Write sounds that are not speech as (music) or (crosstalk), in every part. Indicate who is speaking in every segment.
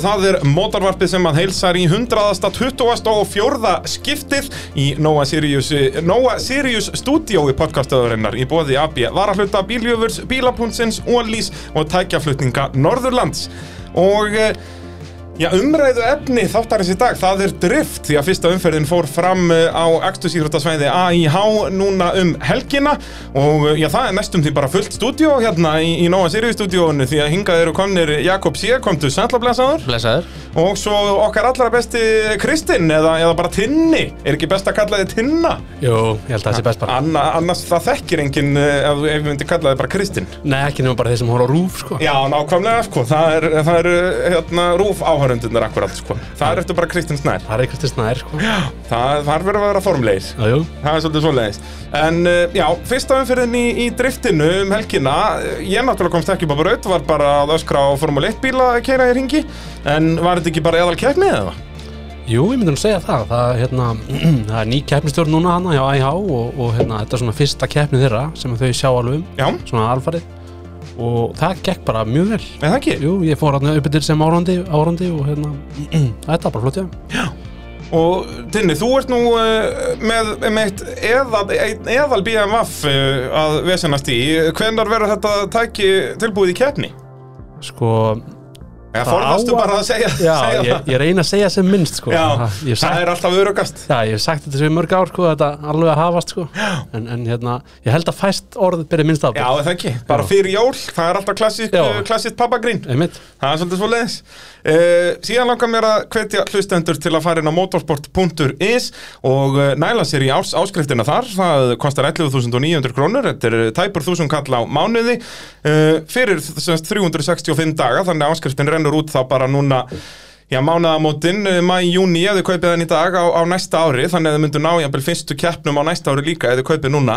Speaker 1: það er mótarvarpið sem að heilsar í 124. og fjórða skiptið í Nóa Sirius, Nóa Sirius stúdíói podcastöðurinnar í bóði AB varahluta bíljöfurs, bílapunnsins, ólís og tækjaflutninga Norðurlands og eh, Já, umræðu efni þáttarins í dag, það er drift því að fyrsta umferðin fór fram eh, á Aktusíþróttasvæði AIH núna um helgina og eh, já, það er næstum því bara fullt stúdíó hérna í, í Nóa Sirius stúdíóinu því að hingað eru komnir Jakob Sjö, komdu Sandlablesaður
Speaker 2: Blessaður
Speaker 1: og svo okkar allra besti Kristinn eða, eða bara Tinni, er ekki best að kalla þið Tinna?
Speaker 2: Jú, ég held að það sé best bara
Speaker 1: Anna, annars það þekkir enginn eh, ef, ef við myndi kalla þið bara Kristinn.
Speaker 2: Nei, ekki nema bara þeir sem horfa á rúf, sko
Speaker 1: Já, nákvæmlega, sko, það er, það er hérna, rúf áhörundunir akkurat, sko. Það er eftir bara Kristinn Snær.
Speaker 2: Það er eitthvað snær, sko Já,
Speaker 1: Það þarf verið að vera formlegir.
Speaker 2: jú
Speaker 1: Það er svolítið svoleiðis. En uh, já, fyrsta umfyririnn í, í driftinu um helgina, eh, ég náttúrulega komst ekki upp á braut, var bara að öskra á Formule 1 bíla að keira í ringi, en var þetta ekki bara eðal keppnið eða?
Speaker 2: Jú, ég myndi nú segja það Það, hérna, (clears throat) það er ný keppnistjórn núna hana hjá IH og, og hérna, þetta er svona fyrsta keppni þeirra sem þau sjá alveg um
Speaker 1: Já,
Speaker 2: Svona alfarið Og það gekk bara mjög vel
Speaker 1: en það ekki.
Speaker 2: Jú, ég fór hérna upp yfir sem árandi, árandi og hérna, (clears throat) þetta var bara flott, já
Speaker 1: Og Tinni, þú ert nú uh, með, með eitt eðal, eitt eðal BMF uh, að vesenast í. Hvenar verður þetta tæki tilbúið í keppni?
Speaker 2: Sko,
Speaker 1: Eða
Speaker 2: Það
Speaker 1: forðastu
Speaker 2: á að-
Speaker 1: bara að segja,
Speaker 2: já,
Speaker 1: segja
Speaker 2: ég,
Speaker 1: það?
Speaker 2: ég reyna að segja sem minnst, sko
Speaker 1: Já,
Speaker 2: ég hef sagt
Speaker 1: það er alltaf örugast.
Speaker 2: Já, ég hef sagt þetta sem mörg ár, sko, þetta alveg að hafast, sko. En, en hérna, ég held að fæst orðið byrja minnst
Speaker 1: Já,
Speaker 2: ábyrg.
Speaker 1: er það ekki. Bara
Speaker 2: Já.
Speaker 1: fyrir jól, það er alltaf klassíkt
Speaker 2: Já.
Speaker 1: klassík pappagrín.
Speaker 2: Einmitt.
Speaker 1: Það er svolítið svo leiðis. síðan langar mér að hvetja hlustendur til að fara inn á motorsport.is og eh, næla sér í ás, áskriftina þar. Það kostar 11.900 krónur, þetta er tæpur 1000 kall á mánuði uh, fyrir semst, 365 daga, þannig að áskriftin rennur út þá bara núna Já, mánaðamótin, eh, maí, júni, ef þið kaupið hann í dag á, á næsta ári, þannig að þið myndu ná jafnvel fyrstu keppnum á næsta ári líka ef þið kaupið núna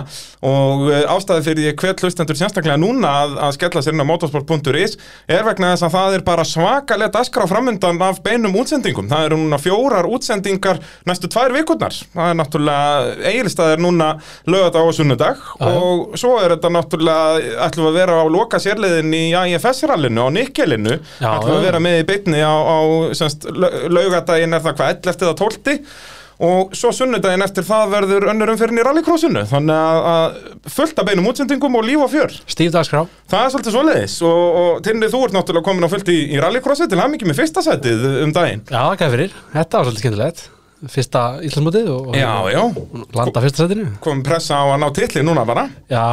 Speaker 1: og eh, ástæði fyrir ég hvet hlustendur sérstaklega núna að, að skella sér inn á motorsport.is er vegna þess að það er bara svakalegt askrá framöndan af beinum útsendingum. Það eru núna fjórar útsendingar næstu tvær vikurnar. Það er náttúrulega, eigilstað er núna lögadag og sunnudag og svo er þetta náttúrulega, ætlum við að vera á loka sérliðin í IFS-rallinu, á Nikkelinu,
Speaker 2: Já,
Speaker 1: ætlum við að
Speaker 2: já.
Speaker 1: vera með í beinni á, á semst, lau- laugadaginn er það hvað, 11. eða 12. og svo sunnudaginn eftir það verður önnur umferðin í rallycrossinu þannig að, að fullt af beinum útsendingum og líf og fjör
Speaker 2: Stíf dagskrá.
Speaker 1: það er svolítið svoleiðis og, og Tinni þú ert náttúrulega komin á fullt í, í rallycrossi til hann mikið með fyrsta setið um daginn
Speaker 2: Já, hvað fyrir? Þetta var svolítið skemmtilegt. Fyrsta Íslandsmótið og, og
Speaker 1: já, já,
Speaker 2: landa fyrsta setinu.
Speaker 1: komin pressa á að ná titli núna bara
Speaker 2: Já,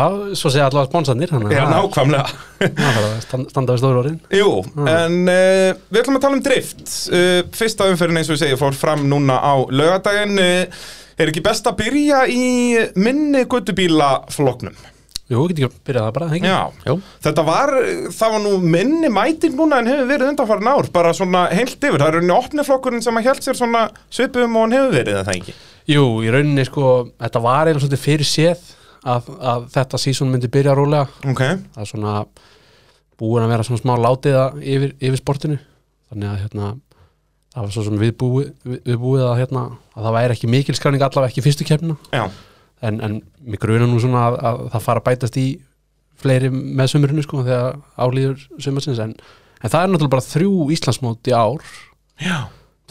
Speaker 2: svo segja allavega sponsanir, þannig
Speaker 1: já,
Speaker 2: að það-
Speaker 1: nákvæmlega
Speaker 2: það var að stan- standa við stóru orðin.
Speaker 1: Jú, en uh, við ætlum að tala um drift uh, Fyrsta umferðin eins og ég segi fór fram núna á laugardaginn uh, Er ekki best að byrja í minni guttubílafloknum?
Speaker 2: Jú, getur ekki að byrja það bara, ekki?
Speaker 1: Já.
Speaker 2: Jú.
Speaker 1: Þetta var, eh, það var nú minni mæting núna en hefur verið undanfarin ár Bara svona heilt yfir, það er rauninni opniflokkurinn sem að held sér svona svipum og hann hefur verið eða það ekki
Speaker 2: Jú, í rauninni, sko, þetta var eiginlega svolítið fyrir séð að, að þetta sísón myndi byrja rólega.
Speaker 1: Ok,
Speaker 2: það er svona búin að vera svona smá látiða yfir, yfir sportinu þannig að hérna það var svo sem við búið, við búið að hérna að það væri ekki mikil skráning allavega ekki í fyrstu keppna
Speaker 1: já,
Speaker 2: en, en mig grunar nú svona að, að það fara að bætast í fleiri með sömurinu sko þegar álíður sömursins en, en það er náttúrulega bara þrjú Íslandsmót í ár
Speaker 1: já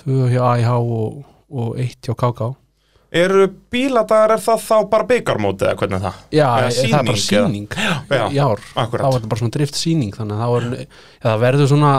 Speaker 2: tvö hjá AIH og, og eitt hjá KK
Speaker 1: Eru bíladagar, er það þá bara byggarmóti eða hvernig er það?
Speaker 2: Já,
Speaker 1: Eða
Speaker 2: það er bara
Speaker 1: sýning, eða?
Speaker 2: sýning
Speaker 1: Já,
Speaker 2: í ár
Speaker 1: akkúrat.
Speaker 2: þá er þetta bara svona drift sýning þannig að það, var, ja, það verður svona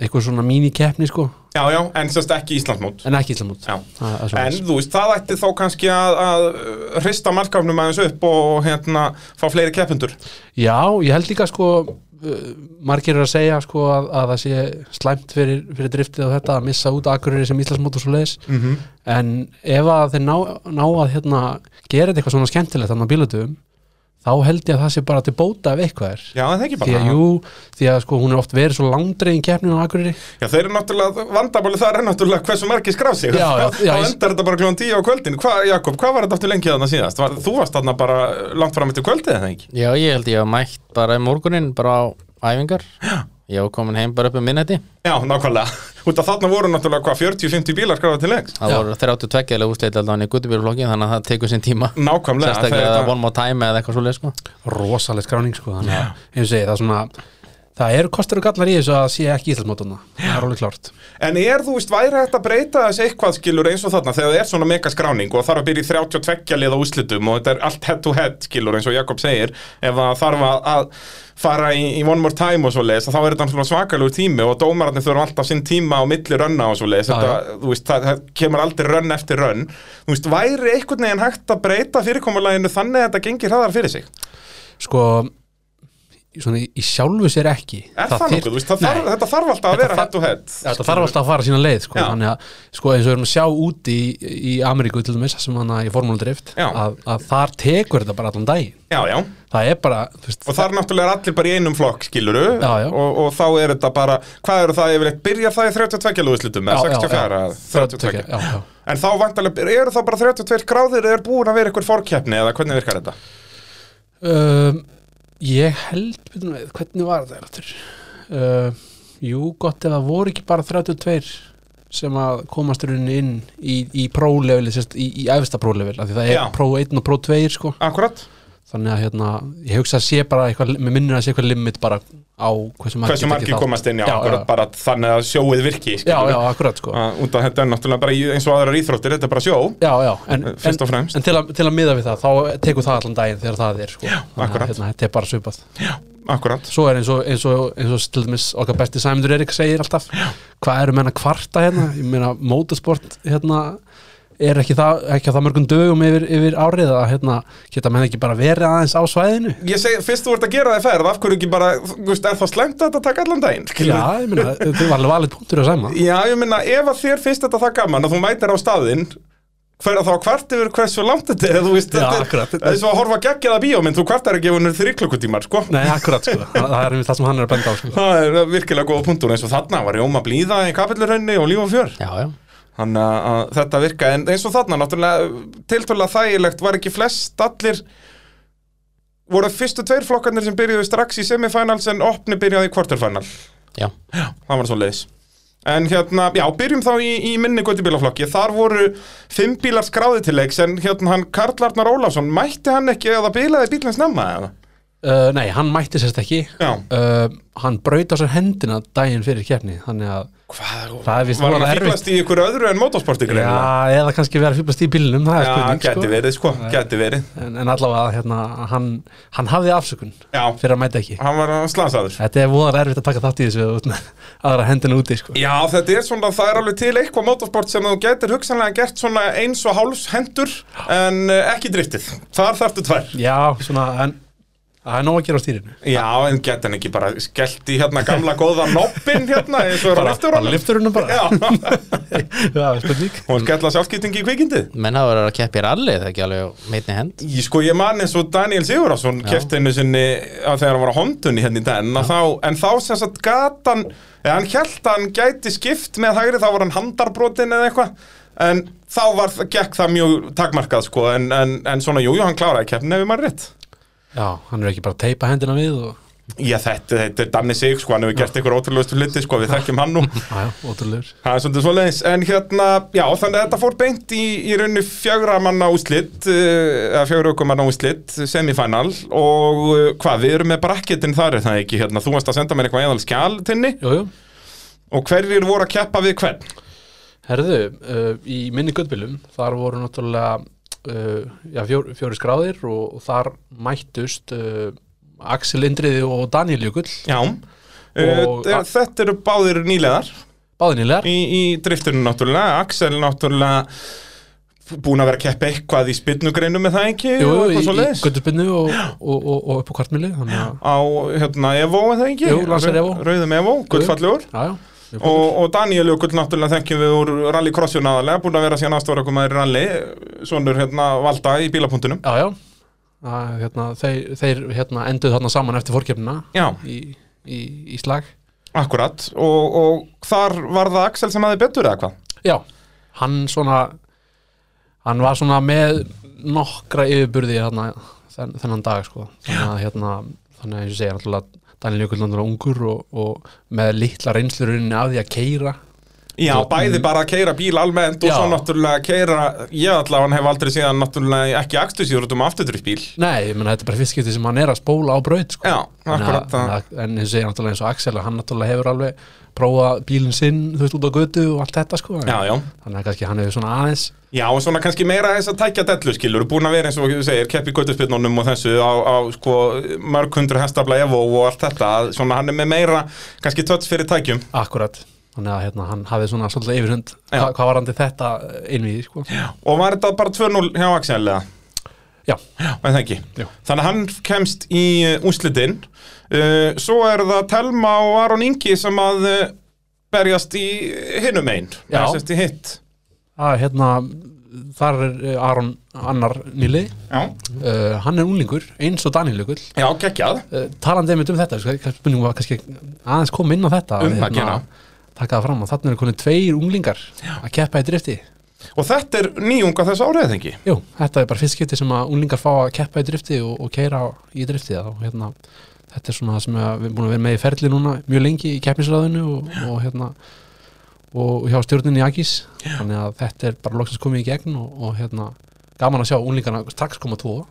Speaker 2: eitthvað svona mínikeppni sko
Speaker 1: Já, já, en semst ekki Íslandsmót
Speaker 2: en ekki Íslamút
Speaker 1: Já. En
Speaker 2: en,
Speaker 1: þú veist, það ætti þá kannski að, að uh, hrista markafnum aðeins upp og, og hérna, fá fleiri keppendur.
Speaker 2: já, ég held líka sko uh, margir eru að segja sko að, að það sé slæmt fyrir, fyrir driftið og þetta að missa út akkurýri sem Íslandsmót og svo leiðis
Speaker 1: Mhm.
Speaker 2: -hmm. en ef að þeir ná, ná að hérna, gera þetta eitthvað svona skemmtilegt þannig að bílutum þá held ég að það sé bara til bóta ef eitthvað er
Speaker 1: Já, en það ekki
Speaker 2: því
Speaker 1: bara.
Speaker 2: að jú, því að sko hún er oft verið svo langdreiðin keppnin á akkurýri
Speaker 1: Já, þeir eru náttúrulega, vandabáli þar er náttúrulega hversu margir skrá sig. (laughs)
Speaker 2: Já, já, já,
Speaker 1: Þá
Speaker 2: ég-
Speaker 1: endar þetta bara kljóðan tíu á kvöldin. Hva, Jakob, hvað var þetta aftur lengi þarna síðast? Var, þú varst þarna bara langt fram eftir kvöldið, eða ekki?
Speaker 3: Já, ég held ég að mætt bara í morgunin bara á æfingar Já Ég var komin heim bara upp um minnætti
Speaker 1: Já, nákvæmlega. Út af þarna voru náttúrulega hvað, 40-50 bílar skráða til lengs?
Speaker 3: Það
Speaker 2: Já.
Speaker 3: voru 32 eða úsleita allan í guttubýrflokkin þannig að það tekur sinn tíma
Speaker 1: Nákvæmlega.
Speaker 3: Sérstaklega
Speaker 1: þegar
Speaker 3: það
Speaker 1: þetta-
Speaker 3: one more time eða eitthvað svoleið sko
Speaker 2: rosaleg skráning sko þannig að eins og ég, það er svona það eru kostur og gallar í þessu að sé ekki Íslandsmótana það er alveg klárt
Speaker 1: En er þú veist, væri hægt að breyta þess eitthvað skilur eins og þarna þegar það er svona megaskráning og þarf að byrja í 32 liða úslitum og þetta er allt head to head skilur eins og Jakob segir ef það þarf að, að fara í, í one more time og svo leiðis þá er þetta svona svakalugur tími og dómararnir þurfa alltaf sinn tíma á milli rönna og svo leiðis
Speaker 2: Já,
Speaker 1: þetta, þú veist, það, það kemur aldrei rönn eftir rönn þú veist, væri einhvern veginn hægt að breyta fyrirkomulaginu þannig að þetta gengir hraðar fyrir sig
Speaker 2: sko svona, í- í sjálfu sér ekki
Speaker 1: Er það, það
Speaker 2: þyr-
Speaker 1: nokkuð, þú veist, það
Speaker 2: Nei.
Speaker 1: þarf, þetta þarf alltaf að
Speaker 2: Þetta
Speaker 1: vera
Speaker 2: þarf-
Speaker 1: head to head
Speaker 2: Þetta þarf alltaf að fara sína leið sko.
Speaker 1: Já.
Speaker 2: þannig að sko, eins og við erum að sjá úti í, í Ameríku til dæmis sem hann að í formúldrift
Speaker 1: Já.
Speaker 2: að, að þar tekur þetta bara allan daginn
Speaker 1: Já, já
Speaker 2: það er bara þú veist,
Speaker 1: Og þar náttúrulega er allir bara í einum flokk, skiluru
Speaker 2: Já, já.
Speaker 1: Og, og þá er þetta bara, hvað eru það yfirleitt, byrjar það í 32 lúðislutum eða
Speaker 2: Já, já,
Speaker 1: 64,
Speaker 2: já.
Speaker 1: 32
Speaker 2: já, já.
Speaker 1: En þá vantarlega, eru það bara 32 gráðir eða er búin að vera ykkur fórkeppni eða hvernig virkar þetta?
Speaker 2: Um, ég held byrjum við, hvernig var þetta eftir? Uh, jú, gott ef það voru ekki bara 32 sem að komast rauninni inn í, í prólevel, sérst, í, í æfista prólevel af því það er
Speaker 1: Já.
Speaker 2: pró 1 og pró 2 sko.
Speaker 1: Akkurat,
Speaker 2: þannig að hérna, ég hugsa að sé bara eitthvað, mér minnir að sé eitthvað limit bara á hversu margir,
Speaker 1: hversu margir komast inn, já,
Speaker 2: Já,
Speaker 1: akkurat
Speaker 2: já.
Speaker 1: bara þannig að sjóið virki,
Speaker 2: Já, já,
Speaker 1: skiluru
Speaker 2: akkurat sko
Speaker 1: Að- Út af þetta er náttúrulega bara í- eins og aðrar íþróttir, þetta er bara sjó
Speaker 2: Já, já, en,
Speaker 1: Fyrst og
Speaker 2: en,
Speaker 1: fremst.
Speaker 2: en til, að, til að miða við það þá tekur það allan daginn þegar það er sko. já,
Speaker 1: akkurat.
Speaker 2: hérna, þetta er bara svipað
Speaker 1: Akkurat,
Speaker 2: svo er eins og, eins og, eins og til dæmis okkar besti Sæmundur Erik segir alltaf hvað eru menna kvarta hérna ég meina motorsport hérna er ekki, það, ekki á það mörgum dögum yfir, yfir árið að hérna geta menn ekki bara verið aðeins á svæðinu
Speaker 1: ég segi, fyrst þú ert að gera þig ferð, af hverju ekki bara, þú veist, er það slæmt að þetta taka allan daginn, skiluru
Speaker 2: já, ég meina, þetta var alveg valið punktur að sæma
Speaker 1: Já, ég meina, ef að þér finnst þetta það gaman að þú mætir á staðinn hver að þá kvart yfir hversu langt þetta er þú veist,
Speaker 2: Já,
Speaker 1: þetta
Speaker 2: akkurat.
Speaker 1: er eins og að horfa geggjaða bíómynd þú kvartar ekki ef hún er þrý klukkutímar, sko
Speaker 2: nei, akkurat sko, það (laughs) það er einmitt það sem hann er að benda á sko.
Speaker 1: Það er virkilega góða punktur eins og þarna var Jóma Blíða í kapillurhaunni og líf og fjör
Speaker 3: Já, já
Speaker 1: Þannig að- að þetta virka, en eins og þarna náttúrulega, tiltölulega þægilegt var ekki flest allir voru fyrstu tveir flokkarnir sem byrjuðu strax í semifinals en opni byrjaði í quarterfinal
Speaker 3: Já,
Speaker 1: það var svo leiðis En hérna, já, byrjum þá í, í minni göttubílaflokki Þar voru fimm bílar skráði til leiks En hérna hann Karl Arnar Ólafsson Mætti hann ekki að það bílaði bílinn snemma eða?
Speaker 2: uh, nei, hann mætti sérst ekki
Speaker 1: Já
Speaker 2: uh, hann braut á sér hendina daginn fyrir keppni þannig að
Speaker 1: Hvað?
Speaker 2: það er vist
Speaker 1: Var hann
Speaker 2: voðalega
Speaker 1: að fíklast í ykkur öðru en motorsporti greinilega?
Speaker 2: já, eða kannski verið að fýblast í bílnum það er
Speaker 1: Já,
Speaker 2: spurning sko.
Speaker 1: gæti verið sko, gæti verið
Speaker 2: en, en allavega hérna, hann, hann hafði afsökun
Speaker 1: Já,
Speaker 2: fyrir að mæta ekki
Speaker 1: hann var slasaður
Speaker 2: þetta er voðar erfitt að taka þátt í þessu út með aðra hendina úti sko.
Speaker 1: Já, þetta er svona, það er alveg til eitthvað motorsport sem þú getur hugsanlega gert svona eins og hálfs hendur en eh, ekki driftið. Þar þarftu tvær.
Speaker 2: já, svona en, það er nóg að gera á stýrinu
Speaker 1: Já, en geta hann ekki bara skellt í hérna gamla góða noppin hérna eins og er á
Speaker 2: bara,
Speaker 1: liftur
Speaker 2: bara lifturunum (laughs) bara
Speaker 1: Já, (laughs)
Speaker 2: það er spurning
Speaker 1: hún skella sjálfskiptingi í kvikindi
Speaker 3: menn hafa verið að keppa í rally Það er ekki alveg meitni hend
Speaker 1: Ég sko, ég man eins og Daniel Sigurðarsson kefti einu sinni að þegar hann var á hondunni hérna í den að þá, en þá sem sagt gatan eða hann held að hann gæti skipt með hægri þá var hann handarbrotin eða eitthvað en þá var, gekk það mjög takmarkað sko, en, en, en svona jújú, jú, hann kláraði keppni ef ég maður rétt
Speaker 2: já, hann er ekki bara að teipa hendina við og,
Speaker 1: Já, þetta, þetta er Danni Sig, sko, hann hefur gert ykkur ótrúlegustu hluti, sko, við þekkjum hann nú
Speaker 2: aðja, ótrúlegur
Speaker 1: Það er svolítið svoleiðis, en hérna, já, þannig að þetta fór beint í, í rauninu fjögra manna úslit, eh, eða fjögra okkur manna úslit, semifinal, og eh, hvað, við erum með brakketin þar, er það ekki, hérna, þú varst að senda mér eitthvað eðal skjál tinni,
Speaker 2: jú, jú.
Speaker 1: og hverjir voru að keppa við hvern?
Speaker 2: herðu, uh, í minni guttbílum þar voru náttúrulega uh, já, fjóri, fjóri skráðir og, og þar mættust uh, Axel Indriði og Daniel Jökull
Speaker 1: Já, og,
Speaker 2: Og-
Speaker 1: þetta eru báðir nýlegar
Speaker 2: báðinilegar
Speaker 1: í, í driftunum náttúrulega, Axel náttúrulega búin að vera að keppa eitthvað í spynnugreinum með það ekki,
Speaker 2: Jú,
Speaker 1: og
Speaker 2: í,
Speaker 1: eitthvað
Speaker 2: í
Speaker 1: svoleiðis?
Speaker 2: göttuspinnu og, og, og, og upp á kvartmili þannig að,
Speaker 1: Á, hérna, Evo, er það ekki?
Speaker 2: Jú, Lancer Evo.
Speaker 1: Rauðum Evo, gullfallegur.
Speaker 2: já, já,
Speaker 1: og, og Daniel Jökull náttúrulega þekkjum við úr rallycrossjun aðalega, búin að vera síðan aðstóra komaður í rally, svonur hérna valda í bílapunktunum.
Speaker 2: já, já. Að, hérna, þeir, þeir hérna, enduð þarna saman eftir fórkefnina
Speaker 1: Já,
Speaker 2: í, í, í slag
Speaker 1: akkurat og, og þar var það Axel sem aðeins betur eða hvað?
Speaker 2: já, hann svona hann var svona með nokkra yfirburði þarna, þenn, þennan dag sko. þannig að hérna, þannig að eins og segja náttúrulega Daniel Jökull náttúrulega ungur og, og með litla reynslurinn af því að keira
Speaker 1: Já, bæði bara að keira bíl almennt og
Speaker 2: Já.
Speaker 1: svo náttúrulega keira, ég allavega hef aldrei síðan náttúrulega ekki akstusíður út um afturdrifbíl.
Speaker 2: Nei, ég menna þetta er bara fyrst skipti sem hann er að spóla á braut sko.
Speaker 1: Já,
Speaker 2: En
Speaker 1: akkurat
Speaker 2: að-
Speaker 1: það.
Speaker 2: að- En eins og ég náttúrulega eins og Axel að hann náttúrulega hefur alveg prófað bílinn sinn, þú veist, út á götu og allt þetta sko
Speaker 1: Já, já.
Speaker 2: Þannig að kannski hann hefur svona aðeins
Speaker 1: Já, og svona kannski meira þess að tækja dellu, skilur, búin að vera eins og þú segir, keppi göttuspinnunum og þessu á, á sko, mörg hundru hestafla evo og allt þetta, að svona hann er með meira, kannski tötts fyrir tækjum.
Speaker 2: akkurat Þannig að hérna, hann hafið svona svolítið yfirhund
Speaker 1: Já.
Speaker 2: hva, hvað varandi þetta innvíði sko Já,
Speaker 1: Og var þetta bara 2-0 hjá Axel eða?
Speaker 2: já,
Speaker 1: Var það ekki?
Speaker 2: já.
Speaker 1: Þannig að hann kemst í uh, úslitinn uh, Svo er það Telma og Aron Ingi sem að uh, berjast í hinum einn
Speaker 2: Já.
Speaker 1: Berjast í hitt
Speaker 2: Að, hérna, Þar er eh, Aron annar nýli
Speaker 1: Já,
Speaker 2: uh, Hann er unlingur, eins og Danílugull
Speaker 1: Já geggjað
Speaker 2: uh, Talandi einmitt um þetta, sko, kannski- spurningum var kannski aðeins koma inn á þetta
Speaker 1: Um að gera.
Speaker 2: Takka það fram að þarna eru konið tveir unglingar að keppa í drifti
Speaker 1: Og þetta er nýjunga þess árið þengi
Speaker 2: Jú, þetta er bara fyrst skipti sem að unglingar fá að keppa í drifti og, og keira í drifti þá, hérna, þetta er svona það sem að við erum búin að vera með í ferli núna mjög lengi í keppnisræðinu og, og hérna og hjá stjórninni Akis þannig að þetta er bara loksins komið í gegn og, og hérna, gaman að sjá unglingarna strax koma tvo,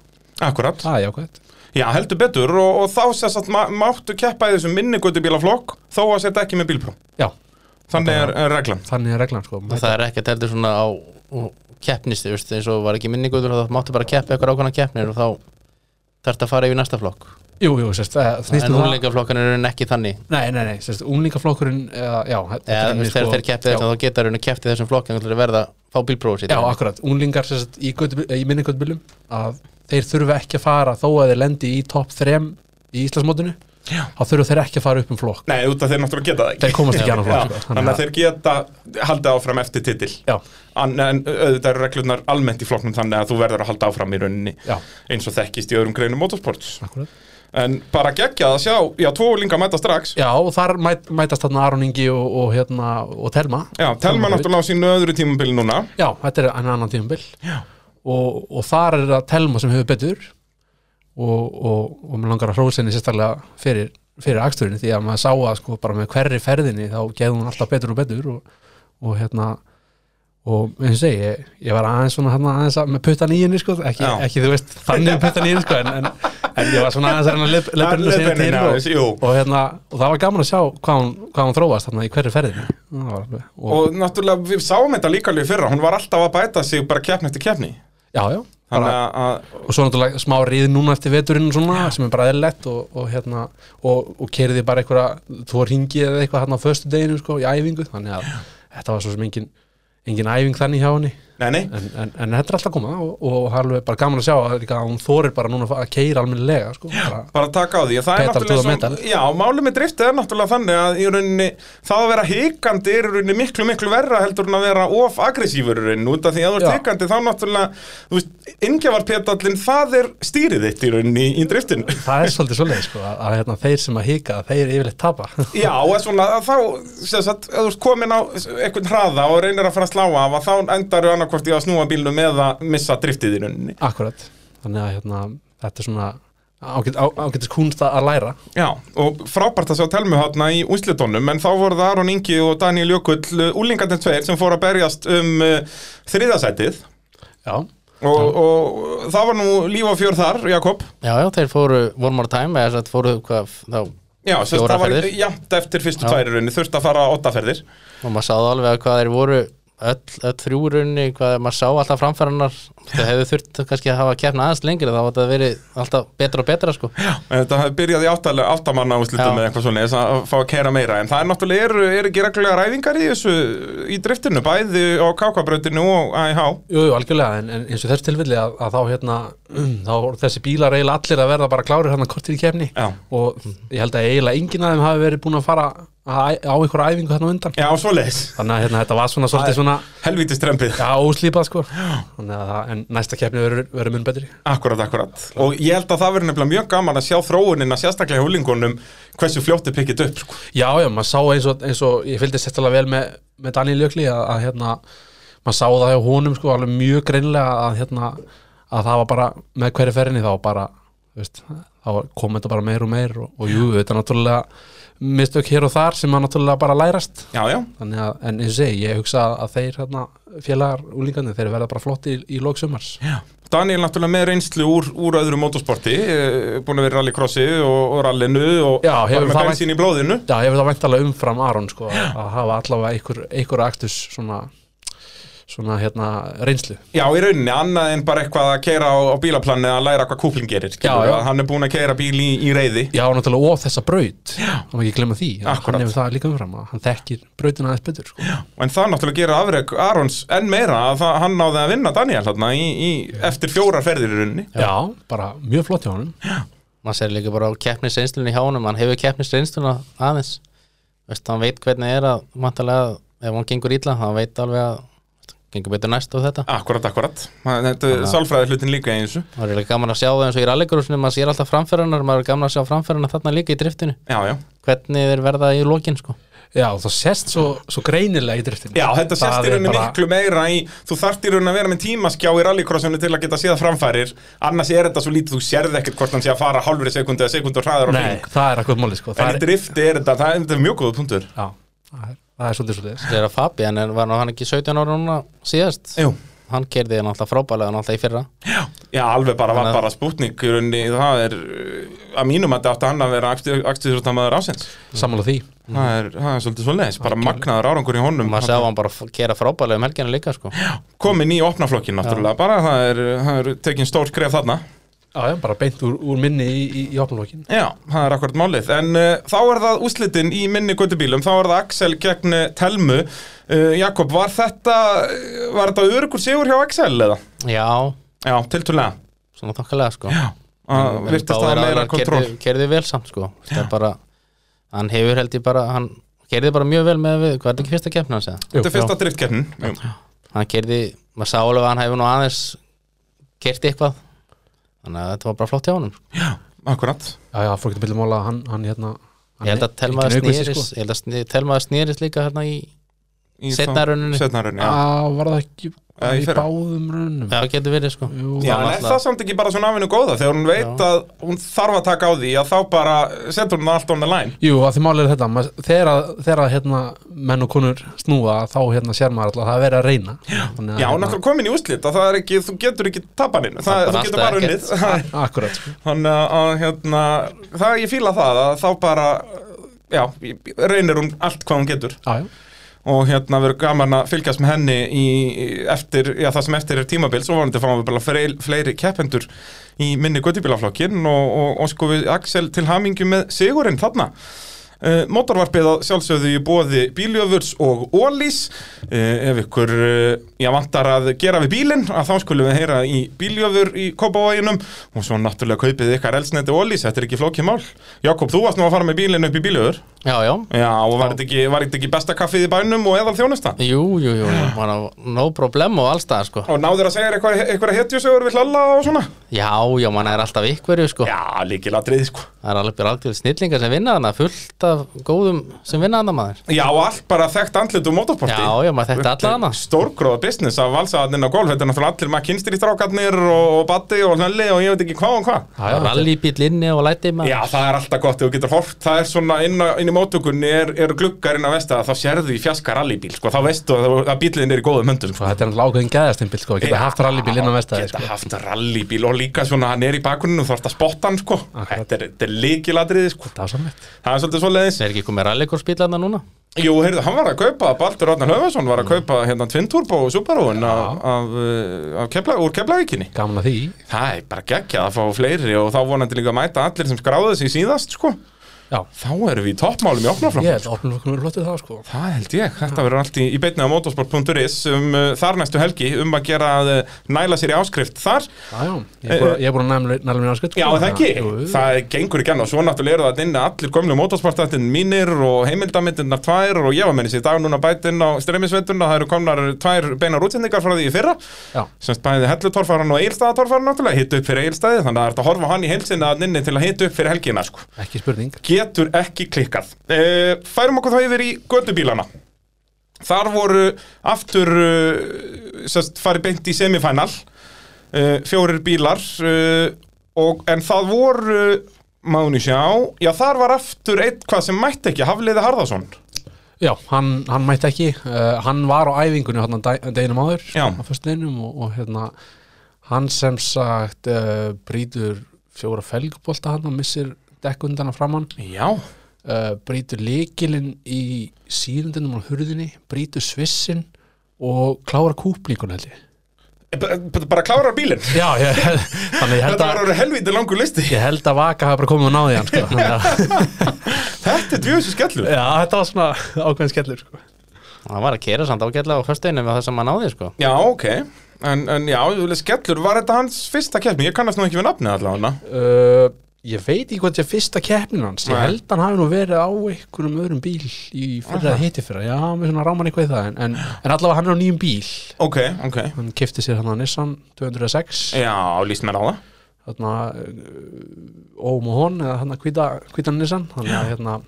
Speaker 1: Akkurat
Speaker 2: það er jákvæmt
Speaker 1: Já, heldur betur og, og þá sess að ma máttu keppa í þessum minnigötubílaflokk þó að setja ekki með bílpró
Speaker 2: Já,
Speaker 1: Þannig er, er reglan
Speaker 2: þannig er reglan sko
Speaker 3: það er ekki að telja svona á á keppnisti, veist, eins og var ekki minningutur þá máttu bara keppa eitthvað ákvæmna keppnir og þá þarf að fara yfir næsta flokk
Speaker 2: Jú, jú, sérst, það snýst
Speaker 3: en
Speaker 2: um það
Speaker 3: úrlingaflokkan eru ekki þannig
Speaker 2: Nei, nei, nei, sérst, unglingaflokkurinn eða, já, þetta
Speaker 3: eða
Speaker 2: er
Speaker 3: þú
Speaker 2: mér,
Speaker 3: veist, þegar þeir keppið
Speaker 2: já,
Speaker 3: þess þá geta rauninu keppið þessum flokk en þú ætlar að verða að fá bílprófið sitt
Speaker 2: Já, akkurat, unglingar sérst, í, götu- í minningöldbílum að þeir þurfa ekki að fara þó að þeir lendi í topp 3 í Íslandsmótinu
Speaker 1: Já.
Speaker 2: þá þurfa þeir ekki að fara upp um flokk
Speaker 1: Nei, út að þeir náttúrulega geta það ekki
Speaker 2: Þeir komast ekki annað flokk
Speaker 1: Já,
Speaker 2: sko,
Speaker 1: Þannig að þeir geta haldið áfram eftir titil
Speaker 2: Já,
Speaker 1: en, en auðvitað eru reglurnar almennt í flokknum þannig að þú verður að halda áfram í rauninni
Speaker 2: já,
Speaker 1: eins og þekkist í öðrum greinum motorsports
Speaker 2: akkurat
Speaker 1: en bara geggjað að sjá, já, tvo úlinga mæta strax já,
Speaker 2: Já, og þar mæt, mætast þarna Aron Ingi og, og, hérna, og Telma
Speaker 1: Telma náttúrulega á sínu öðru tímabili núna
Speaker 2: Já, þetta er en annan tímabil
Speaker 1: Já.
Speaker 2: og, og þar er það Telma sem hefur betur og, og, og mér langar að hrósa henni sérstaklega fyrir, fyrir aksturinn því að maður sá að sko bara með hverri ferðinni þá geði hún alltaf betur og betur og, og hérna og eins og segi, ég, ég var aðeins svona hérna, aðeins að, með puttan í henni sko ekki,
Speaker 1: Já.
Speaker 2: ekki þú veist, þannig með puttan í henni sko en, en, en ég var svona aðeins að hérna lef, lefninu sinni
Speaker 1: Leppurinn
Speaker 2: til
Speaker 1: aðeins,
Speaker 2: og,
Speaker 1: jú.
Speaker 2: og, hérna, og það var gaman að sjá hvað hún, hvað hún þróast þarna í hverri ferðinni Það var alveg- og,
Speaker 1: og náttúrulega við sáum þetta líka alveg í fyrra hún var alltaf að bæta sig bara keppni eftir keppni
Speaker 2: já, já, bara,
Speaker 1: þannig að,
Speaker 2: og svo náttúrulega smá ríð núna eftir veturinn og svona, sem er bara eðlilegt og, og hérna, og, og kerði bara einhverja tvo ringi eða eitthvað hérna á föstu deginu sko, í æfingu, þannig að þetta var svo sem engin, engin æfing þannig hjá henni
Speaker 1: að nei, nei,
Speaker 2: en, en, en þetta er alltaf að koma og, og það er alveg bara gaman að sjá að, líka, að hún þorir bara núna að keira almennilega sko, bara,
Speaker 1: bara taka á því það er
Speaker 2: Pedal to the
Speaker 1: náttúrulega,
Speaker 2: metal.
Speaker 1: svo, já, málið með drifti er náttúrulega þannig að í rauninni það að vera hikandi er í rauninni miklu, miklu verra heldur en að vera of aggressífur í rauninni út af því að þú ert
Speaker 2: Já.
Speaker 1: hikandi þá náttúrulega, þú veist, ingjavarpetallin það er stýrið þitt í rauninni í driftinu
Speaker 2: það er svolítið svolítið sko, að, að hérna, þeir sem að hika, þeir yfirleitt tapa (laughs)
Speaker 1: Já, og svona, að þá, sem sagt, ef þú ert komin á einhvern hraða og reynir að fara að slá af að þá endar þú annarkvort í að snúa bílnum eða missa driftið í rauninni.
Speaker 2: akkurat, þannig að hérna, þetta er svona ágætis á- ágætis kunst að að læra
Speaker 1: Já, og frábært að sjá Telmu hátna í úslitónum, en þá voru það Aron Ingi og Daniel Jökull, úlingarnir tveir sem fóru að berjast um uh, þriðasætið
Speaker 2: já,
Speaker 1: og, og það var nú líf og fjör þar, Jakob.
Speaker 3: já, já, þeir fóru one more time eða þess að fóru hvað þá
Speaker 1: Já, sem sagt,
Speaker 3: Fjórar
Speaker 1: það var
Speaker 3: ferðir.
Speaker 1: jafnt eftir fyrstu
Speaker 3: Já.
Speaker 1: tværi rauninni, þurfti að fara åttaferðir.
Speaker 3: og maður sáði alveg að hvað þeir voru öll, öll þrjúrunni, hvað maður sá alltaf framfæranar, þau hefðu þurft kannski að hafa keppna aðeins lengri, þá var þetta verið alltaf betra og betra sko
Speaker 1: En Þetta byrjaði í áttalega- áttamanna
Speaker 3: Já.
Speaker 1: úslitum eða eitthvað svona, þess að fá að kera meira, en það er náttúrulega, eru er ekki reglulega ræfingar í þessu, í driftinu, bæði á kákabrautinu og AIH.
Speaker 2: Jú, jú, algjörlega, en, en eins og þess tilfelli að, að þá hérna, (clears throat) þá voru þessi bílar eiginlega allir að verða bara klárir hérna kortir í kefni
Speaker 1: Já.
Speaker 2: og ég held að eiginlega enginn af þeim hafi verið búin að fara að, á einhverja æfingu þarna á undan
Speaker 1: Já, svoleiðis.
Speaker 2: þannig að hérna, þetta var svona svolítið svona
Speaker 1: Helvítið strempið.
Speaker 2: já, óslípað sko þannig að það, en næsta kefni verður, verður mun betri
Speaker 1: Akkurat, akkurat. Og ég held að það verður nefnilega mjög gaman að sjá þróunina, sérstaklega húlingunum, hversu fljótt er pikkið upp, sko.
Speaker 2: Já, já, maður sá eins og, eins og ég fylgdi sérstaklega vel með, með Daniel Jökli að, að hérna, maður sá það hjá honum sko alveg mjög greinlega að hérna, að það var bara með hverju ferinni þá bara, þú veist, þá þá kom þetta bara meir og meir og, og jú, þetta er náttúrulega mistök hér og þar sem að náttúrulega bara lærast
Speaker 1: Já, já,
Speaker 2: þannig að, en eins og segi, ég hugsa að þeir hérna, félagar úlíkandi, þeir verða bara flotti í, í lók sumars
Speaker 1: Daniel náttúrulega með reynslu úr, úr öðru motorsporti, eh, búin að vera í rallycrossi og, og rallinu og
Speaker 2: Já, hefur
Speaker 1: bara með
Speaker 2: það vænt-
Speaker 1: bensín í blóðinu.
Speaker 2: Já, ég vil það væntalega umfram Aron sko, að hafa allavega einhver, einhver akstus svona, svona hérna, reynslu
Speaker 1: Já, í rauninni, annað en bara eitthvað að keira á, á bílaplan eða að læra hvað kúpling gerir. skilurðu,
Speaker 2: já.
Speaker 1: að Hann er búin að keira bíl í, í reyði.
Speaker 2: Já, og náttúrulega og þessa braut þá má ekki glemma því, að
Speaker 1: Akkúrat.
Speaker 2: hann hefur það líka umfram að hann þekkir brautina aðeins betur sko.
Speaker 1: En það náttúrulega gerir afreg Arons enn meira að það, hann náði að vinna Daniel þarna í, í, eftir fjórar ferðir í rauninni.
Speaker 2: Já, bara mjög flott hjá honum
Speaker 3: maður sér líka bara á keppnisreynslunni hjá honum hann hefur keppnisreynsluna aðeins Veist, hann veit hvernig er að matalega, ef hann gengur illa, hann veit alveg að veist, gengur betur næst og þetta
Speaker 1: Akkurat, akkurat. Það- Þetta er sálfræði hlutin líka eins og.
Speaker 3: það er eiginlega gaman að sjá það eins og í rallycrossinu maður sér alltaf framferðanar, maður er gaman að sjá framferðanar þarna líka í driftinu,
Speaker 1: Já, já.
Speaker 3: hvernig þeir verða í lokin sko.
Speaker 2: Já, og það sést svo, svo greinilega í driftinu
Speaker 1: Já, þetta
Speaker 2: Það
Speaker 1: sést í
Speaker 2: er
Speaker 1: rauninni
Speaker 2: bara-
Speaker 1: miklu meira í, þú þarft í rauninni að vera með tímaskjá í rallycrossinu til að geta séða framfærir annars er þetta svo lítið, þú sérð ekkert hvort hann sé að fara hálfri sekundi eða sekundi hraðar á
Speaker 2: Nei,
Speaker 1: hring
Speaker 2: það er akkur máli sko.
Speaker 1: en
Speaker 2: það,
Speaker 1: í
Speaker 2: er,
Speaker 1: drifti er þetta, það er, þetta er mjög góða punktur
Speaker 2: já, það, er, það er svolítið svolítið
Speaker 3: þegar að Fabi, en var nú hann ekki 17 ára núna síðast,
Speaker 1: Jú.
Speaker 3: hann kerði hann alltaf frábælega hann alltaf í fyrra,
Speaker 1: Já, alveg bara var
Speaker 3: Þannig að-
Speaker 1: bara spútning í rauninni, það er uh, að mínum að þetta átti hann að vera aktiðsrotamaður ásins
Speaker 2: Sammála því
Speaker 1: það er, það er svolítið svoleiðis, bara magnaður árangur í honum
Speaker 3: maður sá hann bara kera frábælega um helgina líka sko.
Speaker 1: komin í opnaflokkin náttúrulega, bara það er, það er tekin stór skref þarna
Speaker 2: Já, já, bara beint úr, úr minni í, í, í opnulókin
Speaker 1: Já, það er akkurat málið En uh, þá er það úslitin í minni göttubílum Þá er það Axel gegn eh, Telmu uh, Jakob, var þetta eh, Var þetta örugur sigur hjá Axel eða?
Speaker 3: já,
Speaker 1: Já, tiltúlega
Speaker 3: svona þokkalega sko.
Speaker 1: uh, Virtist það meira kontról
Speaker 3: Kerði vel samt sko Það er bara Hann hefur held ég bara Hann kerði bara mjög vel með við Hvað er þetta ekki fyrsta keppna hans eða?
Speaker 1: Þetta er fyrsta driftkeppnin Jú.
Speaker 3: Hann kerði Maður sá alveg að hann hefur nú aðeins Kerti eitthvað Þannig að þetta var bara flott hjá honum sko.
Speaker 1: Akkurat
Speaker 2: Já, já, fór ekki að byrja mála að hann, hann hérna hann sko.
Speaker 3: Ég held að
Speaker 2: er
Speaker 3: telmaða
Speaker 2: enginn ökumaður,
Speaker 1: sko.
Speaker 3: snýris Ég held að sni- telmaða snýris líka hérna í
Speaker 1: Í
Speaker 3: Seinna
Speaker 1: þá-
Speaker 3: rauninni.
Speaker 1: Seinna rauninni, já
Speaker 2: Já, var það ekki
Speaker 1: Eh, í
Speaker 2: í
Speaker 1: fyrra.
Speaker 2: báðum rönnum
Speaker 3: Já, getur verið sko
Speaker 2: Jú,
Speaker 1: Já, en er
Speaker 3: var náttúrulega-
Speaker 1: það samt ekki bara svona afinu góða þegar hún veit
Speaker 3: Já.
Speaker 1: að hún þarf að taka á því að þá bara setur hún allt on the line
Speaker 2: Jú, að því málið er þetta maður- þegar, að- þegar að, hérna, menn og konur snúa þá hérna sér maður alltaf að það er verið að reyna Þannig að, hérna,
Speaker 1: Já, hún er komin í úslit að það er ekki, þú getur ekki tapaninn,
Speaker 3: Það er
Speaker 1: þú getur
Speaker 3: bara alltaf
Speaker 1: bara
Speaker 3: ekkert.
Speaker 1: unnið (laughs) Það er-
Speaker 2: Akkurat, sko.
Speaker 1: Þannig að- að hérna, það ég fíla það að þá bara, já, reynir hún allt hvað hún getur
Speaker 2: já, já
Speaker 1: og hérna verður gaman að fylgjast með henni í, eftir, já það sem eftir er tímabil svo vonandi fáum við bara fleiri, fleiri keppendur í minni göttibílaflokkin og, og, og sko við Axel til hamingju með sigurinn þarna Uh, motorvarpið að sjálfsögðu í bóði bíljöfurs og ólís uh, ef ykkur uh, já, vantar að gera við bílinn að þá skulum við heyra í bíljöfur í Kópavoginum og svo náttúrulega kaupið ykkar elsneti ólís, þetta er ekki flókið mál Jakob, þú varst nú að fara með bílinn upp í bíljöfur
Speaker 3: Já, já
Speaker 1: Já, og var þetta ekki, var þetta ekki besta kaffið í bænum og eðal þjónusta?
Speaker 3: Jú, jú, jú Man á no problem og allstað sko
Speaker 1: Og náður að segja eitthvað, eitthvað hetjusögur við hlalla og svona?
Speaker 3: Já, já, mann er alltaf ykkurju sko
Speaker 1: Já, líkilatrið, sko.
Speaker 3: Það er alveg bara algjörð snillingar sem vinna hana Fullt af góðum sem vinna hana maður
Speaker 1: Já, og allt bara þekkt andlit úr motorporti.
Speaker 3: Já, já, maður þekkti alla hana.
Speaker 1: Stórgróða business af valsaðarninn á golf, þetta er náttúrulega allir maður kynstir í strákarnir og, og batti og hlölli og ég veit ekki hvað og hvað.
Speaker 2: Já, já,
Speaker 3: Rallybíl inni og lætið maður
Speaker 1: Já, það er alltaf gott, ef þú getur hort, það er svona inn, á, inn í móttökunni, er, er gluggar inn á vestaða, þá sérðu í fjaska rallybíl, sko, þá veistu að, að bílinn er í góðum höndum, sko.
Speaker 2: Og þetta er náttúrulega ákveðin gæðastimpill sko, geta
Speaker 1: Já,
Speaker 2: haft rallybíl inn á vestæði
Speaker 1: Geta
Speaker 2: sko.
Speaker 1: haft rallybíl og líka svona hann er í bakuninu þú þarfst að spotta hann sko
Speaker 2: Akkurat.
Speaker 1: Þetta er, þetta er líkilatriði sko
Speaker 2: Það er sammett
Speaker 1: Það er svolítið svoleiðis
Speaker 3: Er ekki komið rallycrossbíl hann núna?
Speaker 1: Jú, heyrðu, hann var að kaupa, Baldur Ráðnar Höfason var
Speaker 2: Mm.
Speaker 1: að kaupa hérna Twin Turbo og Subaruun af, af, uh, af kepla, úr Keflavíkinni
Speaker 2: Gaman að því
Speaker 1: Það er bara geggjað að fá fleiri og þá vonandi líka að mæta allir sem skráðu sig síðast sko
Speaker 2: Já,
Speaker 1: Þá erum við í toppmálum í opnaflokk
Speaker 2: ég held að opnum okkur lotið það sko
Speaker 1: Það held ég, þetta verður allt í, í beinni á motorsport.is um uh, þar næstu helgi um að gera að uh, næla sér í áskrift þar
Speaker 2: Já, já, ég er búin að- ég er búin að næmlega mér áskrift
Speaker 1: Eh, Já, er það ekki,
Speaker 2: Jú, jú.
Speaker 1: það gengur ekki annað og svo náttúrulega eru það inn allir gömlu motorsportættin mínir og heimildamindirnar tvær og ég var með þessi í dag núna bætt inn á streymisveituna, það eru komnar tvær beinar útsendingar frá því í fyrra
Speaker 2: Já,
Speaker 1: semst bæði hellutorfaran og eilstaðatorfaran náttúrulega hitt upp fyrir eilstaði, þannig að það er hægt að horfa á hann í heilsinna að inni til að hitt upp fyrir helgina sko.
Speaker 2: ekki spurning
Speaker 1: getur ekki klikkað e, Færum okkur þá yfir í gödubílana Þar voru aftur uh, sest, farið beint í eh, semifinal uh, fjórir bílar uh, og, en það voru Máni sjá, já þar var aftur eitthvað sem mætti ekki, Hafliði Harðason
Speaker 2: Já, hann, hann mætti ekki uh, hann var á æfingunni hann deginum áður
Speaker 1: Já.
Speaker 2: á föstudeginum og, og hérna hann sem sagt uh, brýtur fjóra felgbolta hann og missir dekkundana fram hann
Speaker 1: Já,
Speaker 2: uh, brýtur líkilinn í síðundinum á hurðinni brýtur svissin og klára kúplíkun held ég
Speaker 1: Eh, bara klárar bílinn
Speaker 2: Já, ég, þannig ég held
Speaker 1: Þetta var
Speaker 2: að
Speaker 1: orðið helvítið langur listi
Speaker 2: ég held að vaka hafa bara komið og náði hann sko. Þannig að- (laughs)
Speaker 1: Þetta er djöfisir skellur
Speaker 2: Já, þetta var svona ákveðin skellur sko.
Speaker 3: hann var að kera samt ágætlega á föstuðinu með það sem hann náði sko.
Speaker 1: Já, ok En, en já, skellur, var þetta hans fyrsta keppni? Ég kannast nú ekki við nafnið allavega
Speaker 2: Uh, ég veit ekki hvað þetta er fyrsta keppnin hans ég
Speaker 1: Nei.
Speaker 2: held hann hafi nú verið á einhverjum öðrum bíl í fyrra eða hitti fyrra já, með svona ráman eitthvað í það en, en, en allavega hann er á nýjum bíl
Speaker 1: Ok, ok
Speaker 2: hann kefti sér hann að Nissan 206
Speaker 1: Já, líst mér á það
Speaker 2: þarna uh, Óm og hon eða hann að hvita, hvita Nissan þannig að hérna,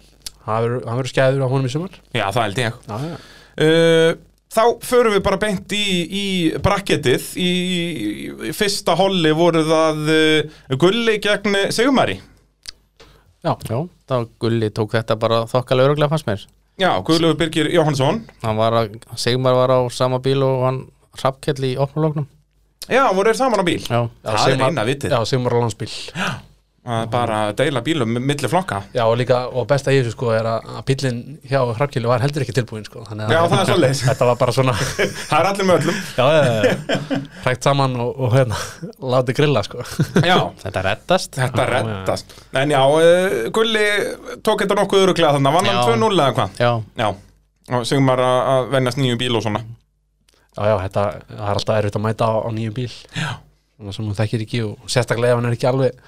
Speaker 2: hann verður- hann verður skæður á honum í sumar
Speaker 1: Já, það held ég
Speaker 2: já, já.
Speaker 1: Uh, Þá förum við bara beint í, í brakketið í, í fyrsta holli voru það uh, Gulli gegn Sigumari
Speaker 3: já, þá Gulli tók þetta bara þokkala öruglega fannst mér
Speaker 1: Já, Guðlaugur Birgir Jóhannsson
Speaker 3: hann var að, Sigmar var á sama bíl og hann Hrafnkell í opnulóknum
Speaker 1: Já, voru þeir saman á bíl
Speaker 3: já,
Speaker 1: Það er eina vitið
Speaker 2: já, Sigmar á landsbíl
Speaker 1: að bara deila bílum milli flokka
Speaker 2: já, og líka, og besta í þessu sko er að, að bílinn hjá Hrafkilu var heldur ekki tilbúin sko þannig að
Speaker 1: Já, það er svoleiðis.
Speaker 2: (laughs) þetta var bara svona
Speaker 1: Það er allir með öllum
Speaker 2: já, já, já, já. (laughs) hrækt saman og, og hérna, (laughs) láti grilla
Speaker 1: (laughs)
Speaker 2: sko (laughs)
Speaker 1: Já,
Speaker 3: þetta reddast
Speaker 1: þetta
Speaker 2: Já, já.
Speaker 1: reddast En já, uh, Gulli tók þetta nokkuð öruglega þannig Vann hann
Speaker 3: Já.
Speaker 1: 2-0 eða hvað
Speaker 3: já,
Speaker 1: Já, og Sigmar að að venjast nýju bíl og svona
Speaker 2: já, já, þetta það er alltaf erfitt að mæta á, á nýjum bíl já. svona sem hún þekkir ekki og sérstaklega ef hann er ekki alveg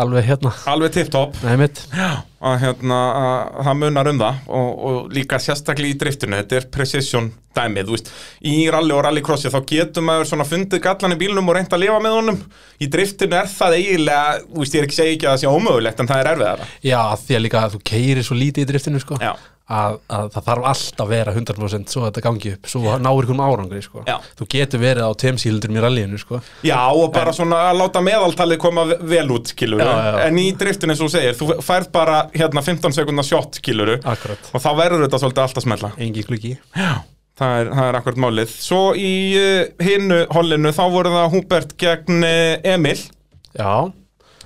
Speaker 2: alveg hérna,
Speaker 1: Alveg tipptopp
Speaker 2: nei mitt
Speaker 1: að hérna, að það munar um það og, og líka sérstaklega í driftinu þetta er precision dæmið, þú veist í rally og rallycrossi þá getur maður svona fundið gallan í bílnum og reynt að lifa með honum í driftinu er það eiginlega þú veist, ég er ekki segi ekki að það sé ómögulegt en það er erfiðara
Speaker 2: já, af því að líka að þú keirir svo lítið í driftinu sko
Speaker 1: Já.
Speaker 2: Að, að það þarf alltaf að vera 100% svo þetta gangi upp, svo náir ykkur árangri sko.
Speaker 1: Já.
Speaker 2: þú getur verið á temsílundur í rallyinu sko.
Speaker 1: Já, og bara svona að láta meðaltalið koma ve- vel út, kiluru
Speaker 2: Já, já, já.
Speaker 1: en í driftinu eins og þú segir, þú færð bara hérna 15 sekundar shot, kiluru
Speaker 2: akkurat,
Speaker 1: og þá verður þetta svolítið allt að smetla
Speaker 2: engi klukki
Speaker 1: Það er, það er akkurat málið Svo í uh, hinnu hollinu þá voru það Húbert gegn eh, Emil
Speaker 2: já,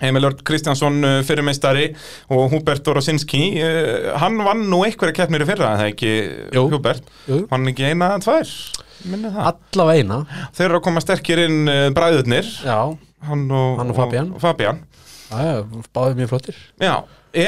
Speaker 1: Emil Örn Kristjánsson uh, fyrirmeistari og Húbert Dorosinski uh, hann vann nú einhverja keppnir í fyrra er það ekki
Speaker 2: Jú.
Speaker 1: Húbert
Speaker 2: Jú.
Speaker 1: hann ekki eina eða tvær minni það
Speaker 2: allavega eina
Speaker 1: þeir eru að koma sterkir inn uh, bræðurnir
Speaker 2: já,
Speaker 1: hann og,
Speaker 2: Hann og Fabian.
Speaker 1: og Fabian.
Speaker 2: já, já, báðið mjög flottir
Speaker 1: Já,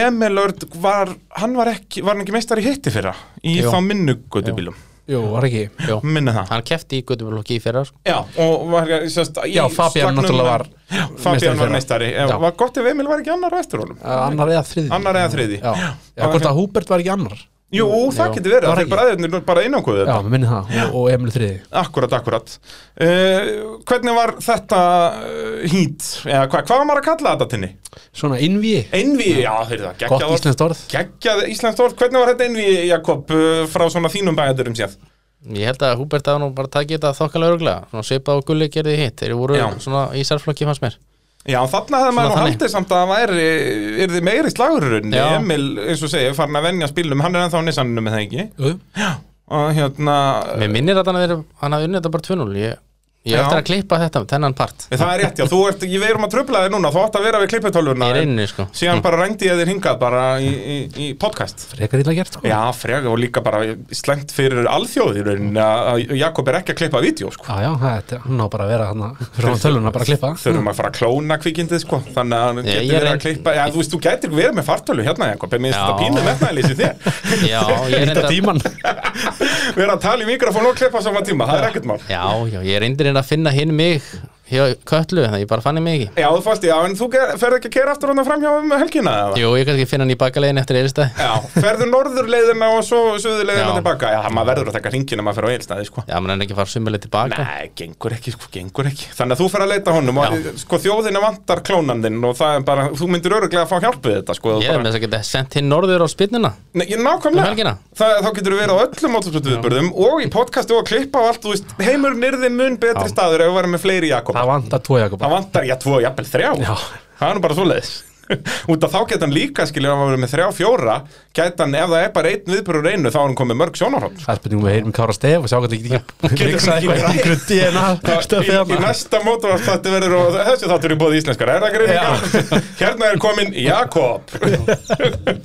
Speaker 1: Emil Örn var hann var ekki, var hann ekki meistari í hitti fyrra í
Speaker 3: Jú.
Speaker 1: þá minnugötubílum
Speaker 2: Jú, var ekki
Speaker 3: já.
Speaker 1: minni það
Speaker 3: hann kefti í Guðbjörnflokki í fyrra sko.
Speaker 1: Já, og var eh, sérst, í
Speaker 2: Já, Fabian
Speaker 1: slagnum-
Speaker 2: náttúrulega var
Speaker 1: Já,
Speaker 2: meistari
Speaker 1: Fabian var
Speaker 2: fyrra.
Speaker 1: meistari Eh,
Speaker 2: Já.
Speaker 1: Var gott ef Emil var ekki annar á eftir honum
Speaker 2: Uh, annar eða þriði
Speaker 1: Annar eða þriðji.
Speaker 2: já, já
Speaker 1: Já,
Speaker 2: hvort
Speaker 1: ok.
Speaker 2: að Húbert var ekki annar já,
Speaker 1: Jú, það
Speaker 3: Já.
Speaker 1: getur verið,
Speaker 2: Var
Speaker 1: þeir
Speaker 2: ekki?
Speaker 1: bræðurnir bara innákuðu þetta
Speaker 2: mér minni það, og, og Emil þriði
Speaker 1: Akkurat, akkurat uh, Hvernig var þetta uh, hít? Eða, hva, hvað var maður að kalla þetta tinni?
Speaker 2: svona innví,
Speaker 1: Einví, já, heyrðu það,
Speaker 2: gott
Speaker 1: geggjað orð.
Speaker 2: íslenskt orð
Speaker 1: Geggjað íslenskt orð, hvernig var þetta einví, Jakob, uh, frá svona þínum bæðurum séð?
Speaker 3: ég held að Húbert að nú bara takið þetta þokkala öruglega svona svipað og Gulli gerði hitt þeir voru
Speaker 1: Já.
Speaker 3: svona í særflokki fannst mér
Speaker 1: Já, þarna hefði maður nú
Speaker 3: þannig.
Speaker 1: haldið samt að það væri, er þið meiri slagurunni,
Speaker 3: Já.
Speaker 1: Emil, eins og segja, farin að venja spilnum, hann er ennþá nissanninu með það ekki
Speaker 2: Jú,
Speaker 1: Og hérna,
Speaker 3: mér minnir að hann hafi verið- hann hafi unnið þetta bara 2-0 ég, ég
Speaker 1: Já.
Speaker 3: eftir að klippa þetta, þennan part
Speaker 1: Eh, það er rétt, já, þú ert, ég verum að tröfla þig núna, þú átt að vera við klipputölvuna
Speaker 3: í reyninni
Speaker 1: (laughs)
Speaker 3: sko
Speaker 1: Síðan bara rændi ég þér hingað bara í, í, í podcast
Speaker 2: frekar illa gert sko
Speaker 1: Já, frega og líka bara slengt fyrir alþjóðir en að Jakob er ekki að klippa vídeo sko.
Speaker 2: já, já þetta, hann á bara að vera hann fyrir (laughs) hann töluna bara að klippa
Speaker 1: þurfum að fara að klóna kvikindið sko. þannig að hann
Speaker 3: Ég-
Speaker 1: getur
Speaker 3: ég
Speaker 1: verið að
Speaker 3: reynd-
Speaker 1: klippa já, þú veist, þú getur verið með fartölu hérna Jakob en mér finnst
Speaker 3: Já.
Speaker 1: þetta pínu metnaðilísi
Speaker 3: (laughs)
Speaker 1: þér
Speaker 3: já, ég
Speaker 2: Hitta
Speaker 3: reyndi að
Speaker 2: tíman
Speaker 1: vera að tala í mikrofón og klippa á sama tíma, það er ekkert mál
Speaker 3: Já, já, ég reyndi reyndi að finna hinn mig hjá Köllu, þannig að ég bara fann hinn mig ekki
Speaker 1: Já, þú fannst, já, en þú ger- ferð ekki að kera aftur hann fram hjá um helgina eða?
Speaker 3: Jú, ég kannski finna hann í bakalegin eftir eðlistæð
Speaker 1: Já, ferðu norðurleiðina og svo suðurleiðina
Speaker 3: Já.
Speaker 1: tilbaka Já, maður verður að taka hringina maður fer á eilstaði sko.
Speaker 3: Já, mann er ekki að fara sumuleg tilbaka
Speaker 1: Nei, gengur ekki, sko, gengur ekki Þannig að þú fer að leita honum og sko þjóðina vantar klónandinn og það er bara, þú myndir öruglega að fá hjálp við þetta sko, þú
Speaker 3: Ég er með
Speaker 1: bara,
Speaker 3: þess að geta sent hinn norður á spinnuna
Speaker 1: Nei, ég-
Speaker 3: Um
Speaker 1: nákvæmlega,
Speaker 3: helgina.
Speaker 1: Þa, þá getur þú verið á öllum mótorspölduviðbörðum og í podcastu og klippa og allt, þú veist, heimur nyrði mun betri
Speaker 3: Já.
Speaker 1: staður ef við varum með fleiri Jakob
Speaker 2: það vantar tvo Jakob
Speaker 1: Það vantar, já, tvo, jafnvel þrjá
Speaker 2: Já.
Speaker 1: Það er nú bara svoleiðis (laughs) út af þá geta hann líka skilur að vera með þrjá fjóra geta hann ef það er bara einn viðbyrður einu þá er hann komið mörg sjónarhótt
Speaker 2: Það er spurningum við heyrum Kára Stef og sjá hvað það ekki
Speaker 1: Getur
Speaker 2: Riksa
Speaker 1: ekki-
Speaker 2: eitthvað í einhverju DNA
Speaker 1: í,
Speaker 2: stöfið
Speaker 1: í
Speaker 2: hana
Speaker 1: næsta mótorvartætti verður og þessi þáttur er búið íslenskar er það greiningar? (laughs) hérna er komin Jakob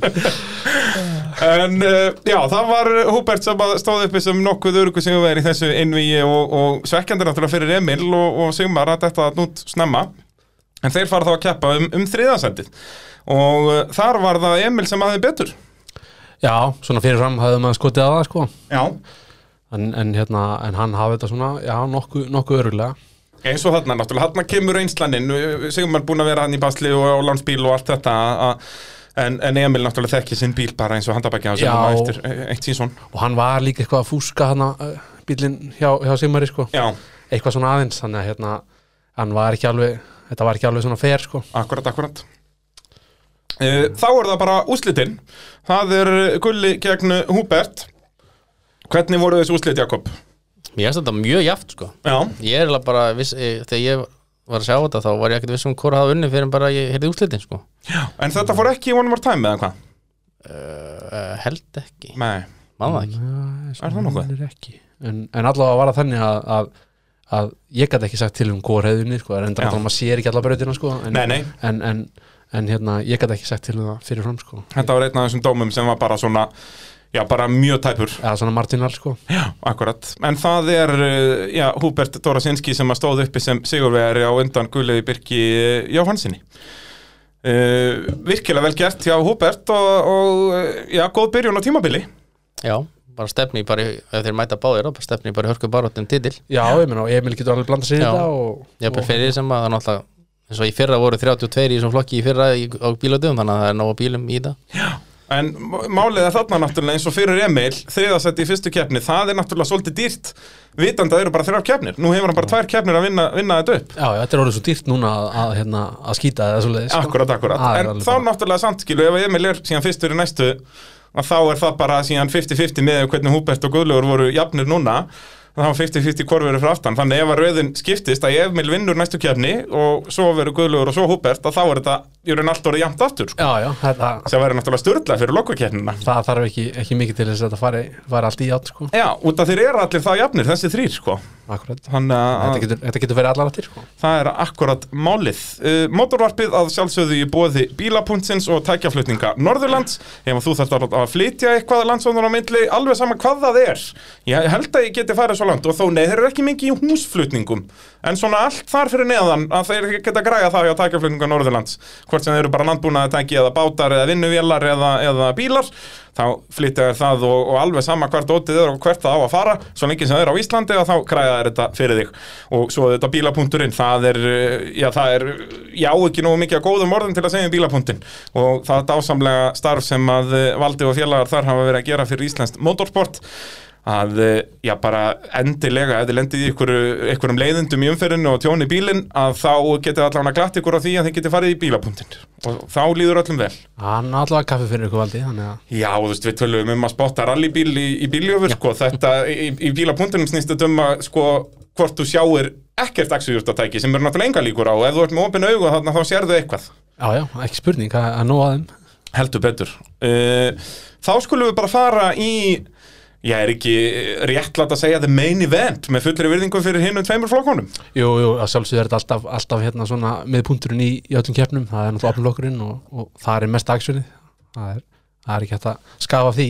Speaker 1: en uh, já það var Húbert sem að stóð uppi sem nokkuð örugu sem í þessu innvíi og, og svekkjandir náttúrulega fyrir Emil og, og Sigmar að þetta nút snemma en þeir fara þá að keppa um, um þriðasendið og uh, þar var það Emil sem hafði betur
Speaker 2: Já, svona fyrirfram hafði maður skotið að það sko
Speaker 1: já
Speaker 2: en, en, hérna, en hann hafði þetta svona, já, nokkuð nokku örulega
Speaker 1: eins og þarna náttúrulega, þarna kemur einslannin Sigmar búin að vera hann í basli og á landsbíl og allt þetta a- en, en Emil náttúrulega þekki sinn bíl bara eins og handabækja sem
Speaker 2: Já.
Speaker 1: hann á eftir e- eitt sínsson
Speaker 2: og hann var líka eitthvað að fúska hana uh, bílinn hjá, hjá Sigmari sko
Speaker 1: Já,
Speaker 2: eitthvað svona aðeins, þannig að hérna hann var ekki alveg, þetta var ekki alveg svona fair sko
Speaker 1: akkurat, akkurat Eh, Þá er það bara úslitin Það er Gulli gegn Húbert Hvernig voru þessi úslit, Jakob?
Speaker 3: Mér finnst þetta mjög jaft sko
Speaker 1: Já,
Speaker 3: Ég er eiginlega bara, viss, eh, þegar ég var að sjá þetta þá var ég ekkert viss um hvora hafði unni fyrir en bara ég heyrði úrslitin sko
Speaker 1: en þetta fór ekki í One More Time eða hvað?
Speaker 3: uh, Held ekki,
Speaker 1: Nei,
Speaker 3: maður það ekki
Speaker 2: Mm.
Speaker 1: Er það nokkuð?
Speaker 2: Ekki. En, en allavega var það þannig að, að, að ég gæti ekki sagt til um hvor hefðunni sko, en
Speaker 1: Já.
Speaker 2: endur að maður sér ekki alla brautina sko, en,
Speaker 1: Nei, nei.
Speaker 2: en, en, en hérna, ég gæti ekki sagt til um það fyrir fram sko.
Speaker 1: þetta var einn af þessum dómum sem var bara svona Já, bara mjög tæpur
Speaker 2: eða svona marginal sko.
Speaker 1: Já, akkurat. En það er uh, já, Húbert Dórasinski sem að stóð uppi sem sigurvegari á undan Guðleiði Birki uh, Jóhansinni. Uh, virkilega vel gert hjá Húbert og, og uh, já, góð byrjun á tímabili.
Speaker 3: Já, bara stefni í bara, í- ef þeir mæta báðir þá bara stefni í bara hörku baróttum titil
Speaker 2: já, ég meina, og Emil getur alveg blanda sér í
Speaker 3: Já.
Speaker 2: þetta og,
Speaker 3: Ég bara
Speaker 2: og,
Speaker 3: fyrir sem að það er náttúrulega eins og í fyrra voru 32 í þessum flokki í fyrra í, á bíladöfum þannig að það er nóg á bílum í það
Speaker 1: En m- málið er þarna náttúrulega eins og fyrir Emil, þriðasætti í fyrstu keppni, það er náttúrulega svolítið dýrt vitandi að það eru bara þrjár keppnir. Nú hefur hann bara tvær keppnir að vinna, vinna þetta upp.
Speaker 2: já, já, þetta er orðið svo dýrt núna að, að, hérna, að skýta eða svo leiðis
Speaker 1: Akkurat, akkurat.
Speaker 2: Sko, Það er
Speaker 1: En
Speaker 2: alveg
Speaker 1: þá
Speaker 2: bara-
Speaker 1: náttúrulega samt skilu, ef Emil er síðan fyrstur í næstu, að þá er það bara síðan 50-50 með hvernig Húbert og Guðlaugur voru jafnir núna, þá er 50-50 hvort verður frá aftan. Þannig ef að rauðin skiptist að Emil vinnur næstu kefni og svo verður Guðlaugur og svo Húbert, að þá er þetta, ég raun allt orðið jafnt aftur, sko.
Speaker 2: já, já, þetta,
Speaker 1: Sem verður náttúrulega störla fyrir lokakefnina.
Speaker 2: það þarf ekki, ekki mikið til þess að þetta fari, fari allt í átt sko.
Speaker 1: Já, út af þeir eru allir það jafnir, þessi þrýr, sko.
Speaker 2: Akkurat.
Speaker 1: Þannig að...
Speaker 2: þetta getur, þetta getur verið allar aftur sko.
Speaker 1: Það er akkurat málið. Uh, Motorvarpið að sjálfsögðu í bóði bílapunktsins og tækjaflutninga Norðurlands. Ef að þú þarft að- að flytja eitthvað landsóðan á myndli, alveg sama hvað það er. Ég held að ég geti farið svo langt og þó nei, þeir eru ekki mikið í húsflutningum. En svona allt þar fyrir neðan að þeir geta græja það hjá tækjaflutninga Norðurlands. Hvort sem þeir eru bara landbúnaði tæki eða bátar eða vinnuvélar eða, eða bílar, þá flytja þeir það og, og alveg sama hvert ótið er og um hvert það á að fara, svo lengi sem þeir eru á Íslandi og þá græða þeir þetta fyrir þig og svo þetta bílapunkturinn, það er eh, já, það er, já, ekki nógu mikið að góðum orðum til að segja um bílapunktin og það er dásamlega starf sem að eh, Valdi og félagar þar hafa verið að gera fyrir Íslands motorsport að, eh, já, bara endilega ef þið lendið í ykkur, ykkurum leiðindum í umferðinu og tjóni bílinn, að þá getið allavega glatt ykkur á því að þið getið farið í bílapunktin og þá líður öllum vel
Speaker 2: Ah, hann allavega kaffi fyrir ykkur valdi þannig að
Speaker 1: Já, þú veist, við tölum um að spotta rallybíl í, í bíljöfur, sko, þetta í, í bílapunktunum snýst þetta um að, sko, hvort þú sjáir ekkert axujúrtatæki sem eru náttúrulega enga líkur á, og ef þú ert með opin augu þarna þá sérðu eitthvað.
Speaker 2: Já, já, ekki spurning að, að nóa þeim
Speaker 1: Heldur betur. Uh, þá skulum við bara fara í, ég er ekki réttlætt að segja the main event með fullri virðingu fyrir hinnum tveimur flokkonum.
Speaker 2: Jú, jú, að sjálfsögðu er þetta alltaf, alltaf hérna svona miðpunturinn í, í öllum keppnum það er náttúrulega opnlokkurinn og, og það er mest aksjunni það er, það er ekki hægt að skafa því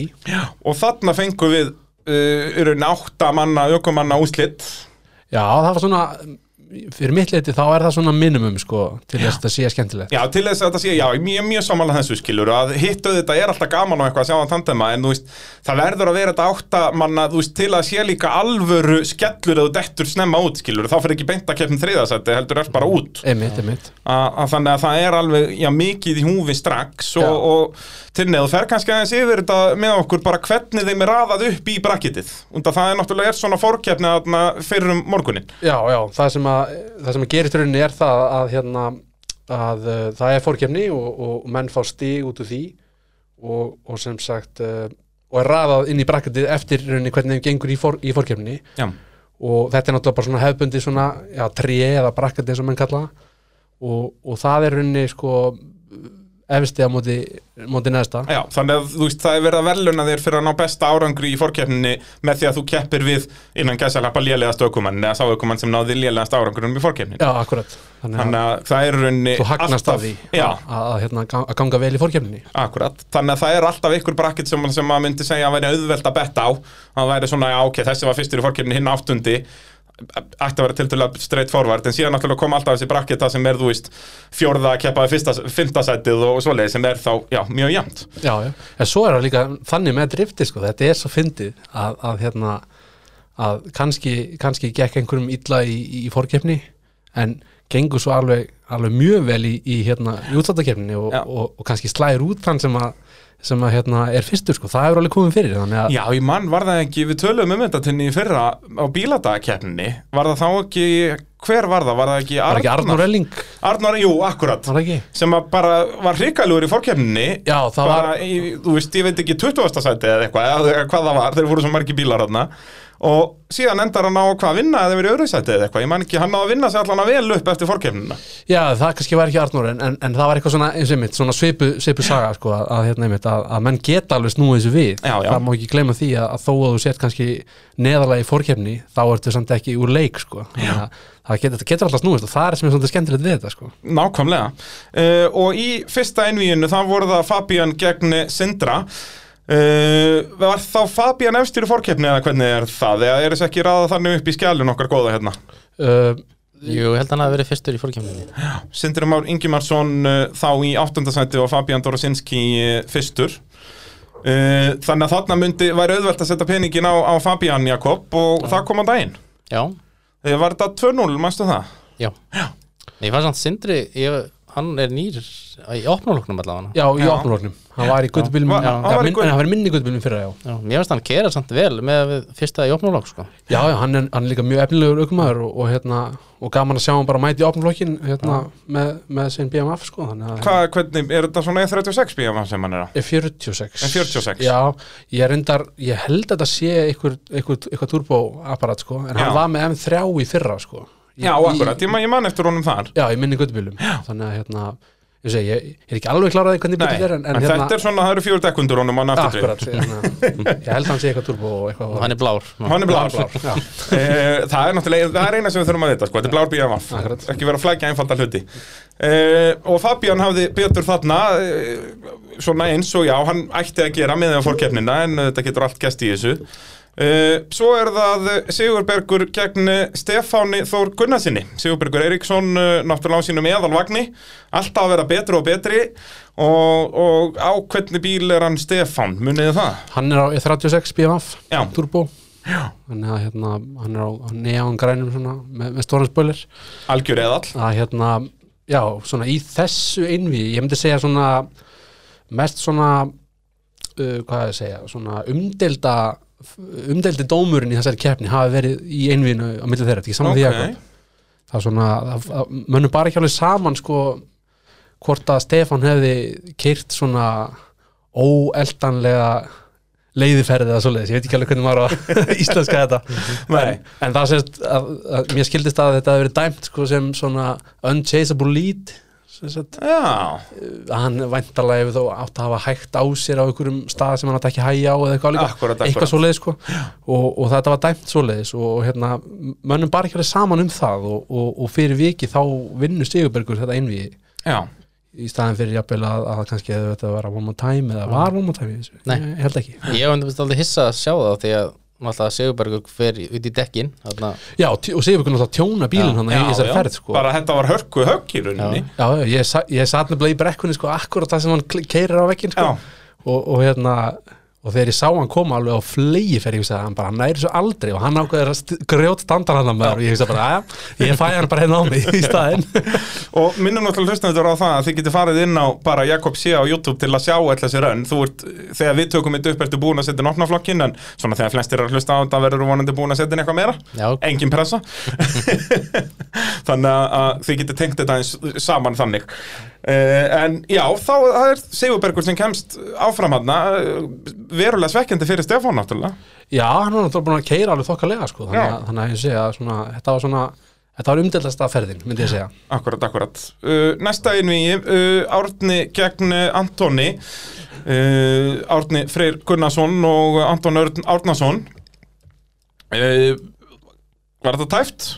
Speaker 1: Og þarna fengum við, uh, eru nátta manna, ökumanna úslitt.
Speaker 2: Já, það var svona, fyrir mitt leiti þá er það svona minimum sko til þess að þetta sé skemmtilegt
Speaker 1: Já, til þess að þetta sé, já, mjög, mjög samanlega þessu skilur að hittu þetta er alltaf gaman og eitthvað að sjá það tandema en þú veist, það verður að vera þetta áttamanna, þú veist, til að sé líka alvöru skellur eða þú dettur snemma út skilur þá fyrir ekki beint að keppin þriðasætti, heldur er bara út
Speaker 2: Einmitt, einmitt
Speaker 1: A, að þannig að það er alveg, já, mikið í húfi strax
Speaker 2: Já.
Speaker 1: og, og til neðu fer kannski aðeins yfir þetta með okkur bara hvernig þeim er raðað upp í brakkitið undan það er náttúrulega er svona fórkeppni þarna fyrir um morgunin
Speaker 2: Já, já, það sem að, það sem að gerist rauninni er það að hérna að uh, það er fórkefni og, og menn fá stig út úr því og, og sem sagt uh, og er raðað inn í brakkatið eftir rauninni hvernig þeim gengur í, fór, í fórkefni
Speaker 1: Já,
Speaker 2: og þetta er náttúrulega bara svona hefbundi svona, já, trí eða brakkandi eins og menn kalla það. og, og það er rauninni sko efsti á móti, móti neðsta
Speaker 1: Já, þannig að þú veist, það er verið að verðluna þér fyrir að ná besta árangri í fórkeppninni með því að þú keppir við innan gæsalappa lélegast aukumann eða sá aukumann sem náði lélegast árangrunum í fórkeppninni
Speaker 2: Já, akkurat Þannig að
Speaker 1: Þannig að það er í rauninni
Speaker 2: þú hagnast
Speaker 1: alltaf-
Speaker 2: af því
Speaker 1: Já,
Speaker 2: að, að, hérna, ga- að ganga vel í fórkefninni
Speaker 1: akkurat Þannig að það er alltaf einhver brakkit sem, sem maður myndi segja að væri auðvelt að betta á að væri svona, já, ok, þessi var fyrstur í fórkeppninni hinn áttundi ætti að vera tiltölulega straight forward en síðan náttúrulega kom alltaf þessi brakkið það sem er, þú veist, fjórða að keppa við fyrsta, fymta sætið og svoleiði sem er þá, já, mjög jæmt
Speaker 2: Já, já, en svo er það líka þannig með drifti sko, þetta er svo fyndið að, að hérna að kannski, kannski gekk einhverjum illa í, í fórkeppni en gengur svo alveg, alveg mjög vel í, í hérna útlættakeppni og,
Speaker 1: Já.
Speaker 2: og, og kannski slæðir út þann sem að, sem að hérna er fyrstur sko, það hefur alveg komið fyrir þannig að
Speaker 1: Já, í mann var það ekki, við töluðum um þetta tenni í fyrra á bíladagakeppninni var það þá ekki, hver var það, var það ekki
Speaker 2: var ekki Arnur Elling,
Speaker 1: Arnór, jú, akkurat
Speaker 2: var það ekki?
Speaker 1: sem að bara var hrikalur í fórkeppninni
Speaker 2: Já, það
Speaker 1: bara,
Speaker 2: var,
Speaker 1: í, þú veist, ég veit ekki 20. sæti eða eitthvað, eða hvað það var, þeir voru svo margi bílar þarna og síðan endar hann á hvað að vinna eða verið öðru sæti eða eitthvað, ég man ekki, hann á að vinna sig allan að vel upp eftir fórkeppnina
Speaker 2: já það kannski var ekki Arnur en, en, en það var eitthvað svona, eins og einmitt, svona svipu, svipu saga sko, að, að, hérna, einmitt, að, að menn geta alveg snúið þessu við
Speaker 1: Já, já.
Speaker 2: það má ekki gleyma því að, að þó að þú sért kannski neðarlega í fórkefni þá ertu samt ekki úr leik sko. Þannig að það getur, getur alltaf snúist og það er sem er svolítið skemmtilegt við þetta sko.
Speaker 1: Nákvæmlega uh, Og í fyrsta einvíinu þá voru það Fabian gegn Sindra uh, Var þá Fabian efstir í fórkeppni eða hvernig er það? Eða er þess ekki ráða þannig upp í skjælun okkar góða hérna?
Speaker 2: uh,
Speaker 3: Jú, ég held að hann hafi verið fyrstur í fórkjöfninni
Speaker 1: Sindri Már Ingimarsson uh, þá í áttundasæti og Fabian Dorosinski uh, fyrstur Uh, þannig að þarna myndi væri auðvelt að setja peningin á, á Fabian Jakob og það kom á daginn
Speaker 3: Já,
Speaker 1: Eh, Var þetta 2-0, mæstu það?
Speaker 3: já Ég fannst hann Sindri, ég, hann er nýr í opnuloknum allavega
Speaker 2: já, í
Speaker 1: Já.
Speaker 2: opnulóknum, hann var í guttubilum
Speaker 1: Var-
Speaker 2: en
Speaker 1: hann var í gutt-
Speaker 2: hann var í minni guttubilum fyrir já.
Speaker 3: Já, mér finnst hann kera samt vel með að við fyrsta í opnulok sko.
Speaker 2: já, já, hann er, hann er líka mjög efnilegur aukumæður og, og, hérna, og gaman að sjá hann bara mæti í opnulókin hérna, með, með sinn BMF sko, þannig að
Speaker 1: Hva, hvernig, er þetta svona E 36 bíðan sem hann er á?
Speaker 2: Er 46
Speaker 1: Er 46?
Speaker 2: Já, ég reyndar, ég held að þetta sé einhver, einhver, einhver turboapparat sko, en
Speaker 1: Já.
Speaker 2: hann var með M3 í fyrra sko. Í-
Speaker 1: Já,
Speaker 2: í-
Speaker 1: akkurat, ég man, ég man eftir honum þar
Speaker 2: Já, í minni guttbílum Þannig að hérna, ég segi, ég, ég er ekki alveg klárað hvernig
Speaker 1: Nei,
Speaker 2: bíl er en, en, hérna, Ah,
Speaker 1: þetta er svona, það eru fjóri dekkundur honum á naftur
Speaker 2: Akkurat,
Speaker 1: (laughs)
Speaker 2: hérna, ég held að hann sé eitthvað turbo og eitthvað
Speaker 3: og hann er blár
Speaker 1: Hann er blár,
Speaker 2: blár, blár, já.
Speaker 1: Eh, Það er náttúrulega, það er eina sem við þurfum að vita sko. Þetta er blár bíjavaf,
Speaker 2: Akkurat.
Speaker 1: ekki vera að flækja einfalda hluti eh, Og Fabian hafði betur þarna eh, Svona eins og já, hann ætti að gera með þeim fórkeppnina En eh, þetta getur allt gæst í þessu eh, Svo er það Sigurbergur gegn eh, Stefáni Þór Gunnarsinni Sigurbergur Eiríksson, eh, náttúrulega á sínum eðalvagni Alltaf að vera betri og betri Og, og á hvernig bíl er hann Stefán, munið þið það?
Speaker 2: Hann er á E 36 BMF
Speaker 1: Já.
Speaker 2: turbo Já. Þannig að hérna, hann er á á neon grænum svona, með, með stóran spölir
Speaker 1: Algjör eðall
Speaker 2: að hérna, já, svona í þessu innví, ég myndi segja svona mest svona uh, hvað ég að segja, svona umdelda umdeldi dómurinn í þessari keppni hafi verið í einvínu á milli þeirra, ekki saman
Speaker 1: Ok.
Speaker 2: því Jakob það er svona, það, það mönnum bara ekki alveg saman sko, hvort að Stefán hefði keirt svona óeldanlega leiðiferðið eða svoleiðis, ég veit ekki alveg hvernig maður á (laughs) að íslenska þetta
Speaker 1: Nei.
Speaker 2: en, en það sést að, að mér skildist að þetta hefði verið dæmt sko, sem svona unchaseable lead sem sagt,
Speaker 1: Já,
Speaker 2: hann væntalega hefur þó átt að hafa hægt á sér á einhverjum stað sem hann átt ekki að hægja á eða eitthvað líka,
Speaker 1: Akkúrat, akkúrat.
Speaker 2: eitthvað svoleiðis sko. og, og þetta var dæmt svoleiðis og hérna, mönnum bara ekki alveg saman um það og, og, og fyrir viki þá vinnur Sigurbergur þetta einvi
Speaker 1: já
Speaker 2: í staðin fyrir jafnvel að, að kannski hefði þetta að vera one more time eða var one more time í þessu,
Speaker 3: Nei.
Speaker 2: Ég- ég held ekki
Speaker 3: Ég var undanfyrst aldrei hissa að sjá það því að náttúrulega Sigurbergur fer út í dekkin þarna,
Speaker 2: Já, t- og Sigurbergur náttúrulega tjóna bílinn hann í
Speaker 1: Já,
Speaker 2: þessari
Speaker 1: já.
Speaker 2: ferð sko.
Speaker 1: Bara þetta var hörku högg í rauninni
Speaker 2: Já, já, ég, sa- ég satt nefnilega í brekkunni sko, akkurat það sem hann keirir á vekkin sko.
Speaker 1: Já.
Speaker 2: og, og hérna og þegar ég sá hann koma alveg á fleigi fyrir ég hugsaði að hann bara næri svo aldrei og hann ákveður að st- grjót standar hann að maður og ég hugsaði bara, að ég fæ hann bara hérna á mig í staðinn (laughs)
Speaker 1: Og minnum náttúrulega hlustendur á það að þið getur farið inn á bara Jakob Sjá á YouTube til að sjá alltaf þessi raun Þú ert, þegar við tökum þetta upp ertu búin að setja nokna flokkin En svona þegar flestir eru að hlusta á þetta verður þú vonandi búin að setja inn eitthvað meira
Speaker 3: Já.
Speaker 1: Engin pressa (laughs) Þannig að- að þið getur tengt þetta eins saman þannig uh, En já, þá það er Sigurbergur sem kemst áfram hann Verulega svekkjandi fyrir Stefán náttúrulega
Speaker 2: Já, hann var náttúrulega búin að keira alveg þokkalega sko, þannig,
Speaker 1: Já.
Speaker 2: að, þannig að ég sé að svona, þetta var svona Þetta var umdeldast að ferðin, myndi ég segja
Speaker 1: Akkurat, akkurat. Uh, næsta einvíi, uh, Árni gegn uh, Antoni, uh, Árni Freyr Gunnarsson og Anton Örn Árnason. Uh, var þetta tæft?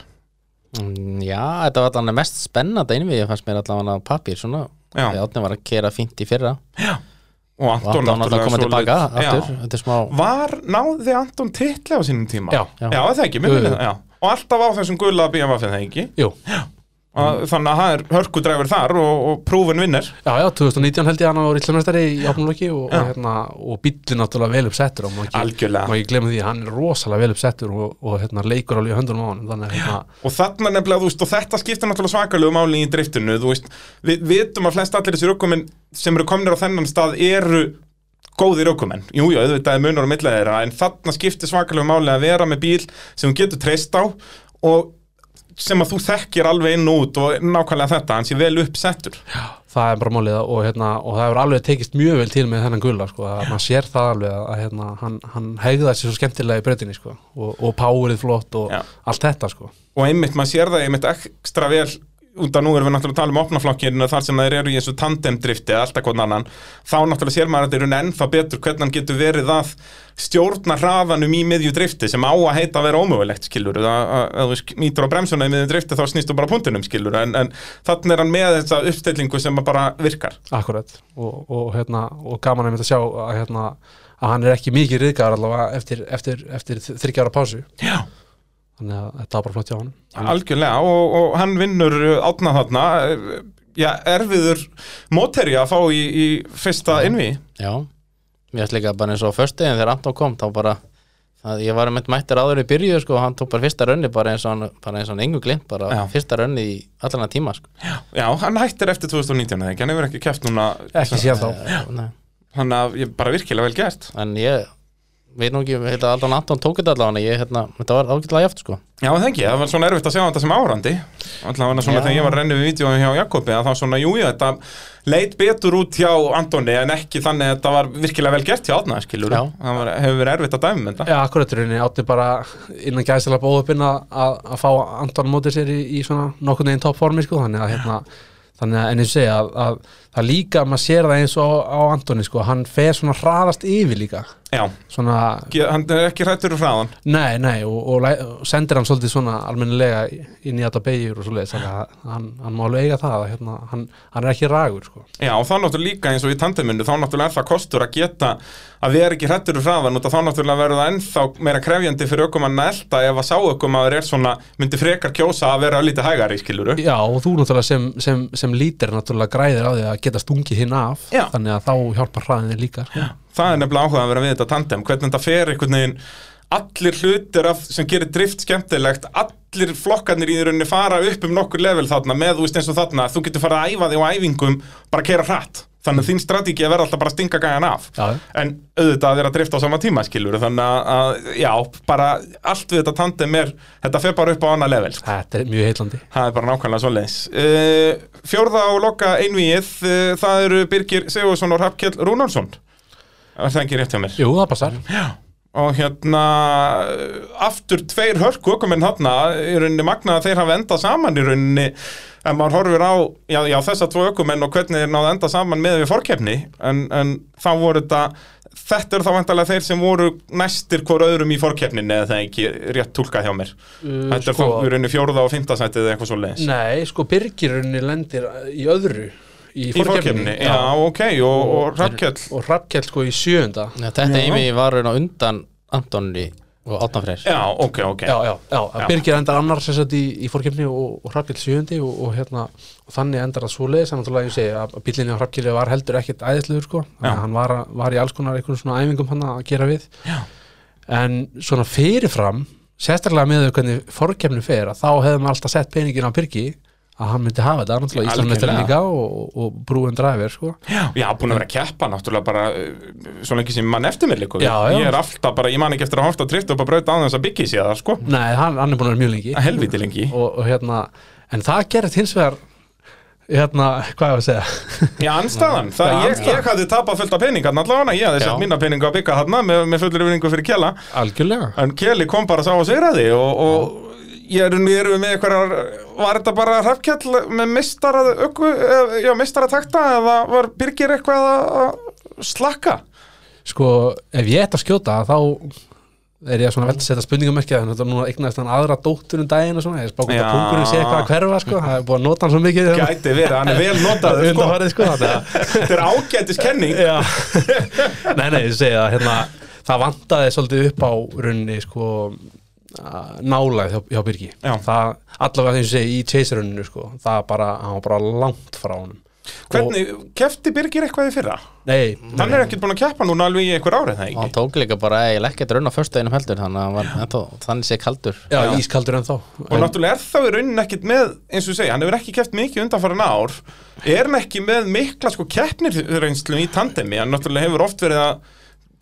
Speaker 3: Mm, Já, þetta var allavega mest spennandi einvið, ég fannst mér allavega pappir svona
Speaker 1: Já.
Speaker 3: Þegar Átni var að kera fínt í fyrra
Speaker 1: Og
Speaker 3: og Átni
Speaker 1: Anton
Speaker 3: var náttúrulega að koma
Speaker 1: svolít-
Speaker 3: tilbaka aftur,
Speaker 1: Já.
Speaker 3: þetta er smá
Speaker 1: Var, náði Anton titli á sínum tíma?
Speaker 2: Já.
Speaker 1: Já,
Speaker 3: Já.
Speaker 1: það ekki, mér
Speaker 2: Jú,
Speaker 1: finnir
Speaker 2: jú.
Speaker 1: það, já. Og alltaf á þessum gulla BMF en það ekki.
Speaker 2: Jú,
Speaker 1: Mm. Þannig að það er hörkudræfur þar og, og prúfin vinnir.
Speaker 2: já, já, 2019 held ég hann á Ríklamestari í ápnuloki og, og, hérna, og bíllinn náttúrulega vel uppsettur og má ekki,
Speaker 1: Algjörlega.
Speaker 2: má ekki glemma því að hann er rosalega vel uppsettur og, og hérna, leikur alveg í höndunum á honum þannig að hérna,
Speaker 1: Og þarna nefnilega, þú veist, og þetta skiptir náttúrulega svakalegu máli í driftinu, þú veist, við vitum að flest allir þessi raukumenn sem eru komnir á þennan stað eru góðir raukumenn. Jú, jú, auðvitað er munur á milli þeirra, en þarna skiptir svakalegu máli að vera með bíl sem þú getur treyst á og sem að þú þekkir alveg inn og út og nákvæmlega þetta, hann sé vel uppsettur.
Speaker 2: það er bara málið og, hérna, og það hefur alveg tekist mjög vel til með þennan gulla sko, að maður sér það alveg að hérna, hann, hann hegðaði sér svo skemmtilega í breytinni sko, og, og powerið flott og
Speaker 1: Já.
Speaker 2: allt þetta sko.
Speaker 1: Og einmitt, maður sér það einmitt ekstra vel út af nú erum við náttúrulega að tala um opnaflokkinu þar sem þeir eru í eins og tandemdrifti eða alltaf hvern annan, þá náttúrulega sér maður að þeir eru ennþá betur hvernig hann getur verið að stjórna hraðanum í miðju drifti sem á að heita að vera ómögulegt skilur að þú sk- nýtur á bremsuna í miðju drifti þá snýstu bara á punktinum skilur en, en þannig er hann með þessa uppstillingu sem að bara virkar
Speaker 2: Akkurat og, og, hérna, og gaman að mynda að sjá að, hérna, að hann er ekki mikið riðgar allavega eftir, eftir, eftir þryggja ára pásu
Speaker 1: Já,
Speaker 2: þannig að þetta var bara flott hjá hann
Speaker 1: Algjörlega og, og hann vinnur átna þarna eh, já, erfiður mótherja að fá í, í fyrsta innví
Speaker 3: Já, mér finnst líka bara eins og föstu en þegar Anton kom þá bara að ég var með mættur áður í byrju sko, og hann tók bara fyrsta raunni bara eins og hann, bara eins og hann engu glimt, bara
Speaker 1: Já.
Speaker 3: fyrsta raunni í allan að tíma sko.
Speaker 1: Já, hann hættir eftir 2019 eða ekki, hann hefur ekki keft núna
Speaker 2: ekki síðan þá
Speaker 3: Eh, nei.
Speaker 1: Þannig að ég bara virkilega vel gert
Speaker 3: en ég veit nú ekki, ég held að allan Anton tók þetta allan ég, hérna, þetta var ágætlega jaft sko.
Speaker 1: Já, það ekki, það var svona erfitt að sjá um þetta sem árandi Alltaf hann svona
Speaker 3: Já.
Speaker 1: þegar ég var að renna við vídjóum hjá Jakobi að þá svona, jú, jú, þetta leit betur út hjá Antoni en ekki þannig að þetta var virkilega vel gert hjá Átna, skilur
Speaker 3: Já.
Speaker 1: Það var, hefur verið erfitt að dæmi um þetta
Speaker 2: Já, akkurat í rauninni átti bara innan gæðsala bóðupinn að, að að fá Anton mótið sér í, í svona nokkurn veginn toppformi sko, þannig að hérna þannig að ennum segja að, að það líka að maður sér það eins og á, á Antoni sko, hann fer svona hraðast yfir líka
Speaker 1: Já,
Speaker 2: svona,
Speaker 1: Ge- hann er ekki um hrættur úr hraðan
Speaker 2: nei, nei og, og, læ- og sendir hann svolítið svona almennilega inn í þetta beigjur og svoleiðis þannig að hann, hann má alveg eiga það að, hérna, hann, hann er ekki ragur sko.
Speaker 1: Já, og þá náttúrulega líka eins og í tandeminu, þá náttúrulega er það kostur að geta að vera ekki hrættur úr hraðan út að þá náttúrulega verður það ennþá meira krefjandi fyrir ökumann að elta ef að sá ökumann er svona, myndi frekar kjósa að vera lítið hægari, skiluru.
Speaker 2: Já, og þú náttúrulega sem, sem, sem lítir náttúrulega græðir á því að geta stungið hinn af
Speaker 1: Já.
Speaker 2: þannig að þá hjálpar hraðinni líka sko.
Speaker 1: Það er nefnilega áhuga að vera við þetta tandem, hvernig þetta fer einhvern veginn, allir hlutir af, sem gerir drift skemmtilegt, allir flokkarnir í rauninni fara upp um nokkur level þarna með, þú veist eins og þarna, þú getur farið að æfa þig á æfingum, bara kera hratt. Þannig að þín strategi er verða alltaf bara að stinga gæjan af.
Speaker 2: Já, já.
Speaker 1: en auðvitað er að drifta á sama tíma skilur þannig að- að já, bara allt við þetta tandem er þetta fer bara upp á annað level sko.
Speaker 2: Þetta er mjög heillandi
Speaker 1: það er bara nákvæmlega svoleiðis uh, fjórða og loka einvíið uh, það eru Birgir Sigursson og Rappkjell Rúnarsson er það ekki rétt hjá mér
Speaker 2: Jú, það passar
Speaker 1: og hérna eh, aftur tveir hörku okkur menn hann í rauninni magna að þeir hafa endað saman í rauninni en maður horfir á já, já þessa tvo ökumenn og hvernig þeir náðu að enda saman með við fórkefni en, en þá voru þetta þetta eru þá vantarlega þeir sem voru næstir hvor öðrum í fórkefninni eða það er ekki rétt túlkað hjá mér þetta er
Speaker 2: sko-
Speaker 1: þá í rauninni fjóruða og fymtasættið eða eitthvað svo leiðis
Speaker 2: Nei, sko Birgirunni lendir í öðru Í
Speaker 1: í fórkefninni, já ok og, og Rappkjell
Speaker 2: Og Hrafnkell sko í sjöunda
Speaker 3: Já, þetta
Speaker 1: Já.
Speaker 3: eimi var raun og undan Antoni og Áttan Freyr
Speaker 1: já ok ok
Speaker 2: Já, já, já,
Speaker 1: Já.
Speaker 2: Birgir endar annar sem sagt í, í fórkefni og, og Hrafnkell sjöundi og, og hérna og þannig endar það svoleiðis en náttúrulega ég segi að bílinni á Hrafnkell var heldur ekkit æðislegur sko þannig
Speaker 1: Já.
Speaker 2: að hann var, að- var í alls konar einhvern svona æfingum hann að gera við
Speaker 1: Já.
Speaker 2: en svona fyrirfram sérstaklega með þau hvernig fórkefni fer að þá hefðum alltaf sett peningin á Birgi að hann myndi hafa þetta, náttúrulega Íslandsmeistarinn
Speaker 1: Algjörlega.
Speaker 2: líka og, og brúin dræfir sko
Speaker 1: Já, búin að vera að keppa náttúrulega bara eh, svo lengi sem mann eftir mér líka
Speaker 2: Já, já.
Speaker 1: Ég er alltaf bara, ég man ekki eftir að horta tritt upp að brauta aðeins að byggja sér það, sko
Speaker 2: Nei, hann, hann er búin að vera mjög lengi
Speaker 1: Að helviti lengi
Speaker 2: og, og hérna, en það gerist hins vegar hérna, hvað ég var að segja (laughs)
Speaker 1: Já, anstæðan, það,
Speaker 2: Já,
Speaker 1: ég, ég hafði tapað fullt af peningarn allavega Ég hafði
Speaker 3: Já.
Speaker 1: sett mína peninga að byggja þarna með, með fullir yfirningu fyrir Kjela
Speaker 2: Algjörlega
Speaker 1: En Kjeli kom bara sá að segja því og, og ég er nú erum við með eitthvað var þetta bara hrafkjall með mistarað öku, eh, já mistarað takta eða var Birgir eitthvað að- að slakka
Speaker 2: sko, ef ég ætti að skjóta þá er ég að svona velta að setja spurningamerkja þannig að þetta er núna eignaðist hann aðra dóttur um daginn og svona, ég spá hvort
Speaker 1: Já.
Speaker 2: að pungurinn sé eitthvað að hverfa sko, það er búið að nota hann svo mikið hérna
Speaker 1: gæti verið, hann er vel
Speaker 2: (laughs)
Speaker 1: notaður sko.
Speaker 2: undanfarið sko, þannig að
Speaker 1: þetta er ágætis
Speaker 2: (laughs)
Speaker 1: kenning
Speaker 2: Já (laughs) Nei, nei, ég segi það hérna, Það vantaði svolítið upp á runni sko, nálæð hjá, hjá Birgi
Speaker 1: Já.
Speaker 2: það, Allavega þeim segi í chase runninu sko, það bara, hann var bara langt frá honum
Speaker 1: hvernig, kefti Birgir eitthvað í fyrra?
Speaker 2: Og, nei,
Speaker 1: hann er ekkert búin að keppa núna alveg í einhver árið það
Speaker 3: og hann
Speaker 1: ekki
Speaker 3: tók líka bara eiginlega ekkert raun á föstudeginum heldur þannig að hann var ennþá, þannig sé kaldur
Speaker 2: Já, ískaldur ennþá
Speaker 1: og náttúrulega er þá í raunin ekkert með eins og segja, hann hefur ekki keft mikið undanfæran ár er hann ekki með mikla sko keppnirreynslu í tandemi hann náttúrulega hefur oft verið að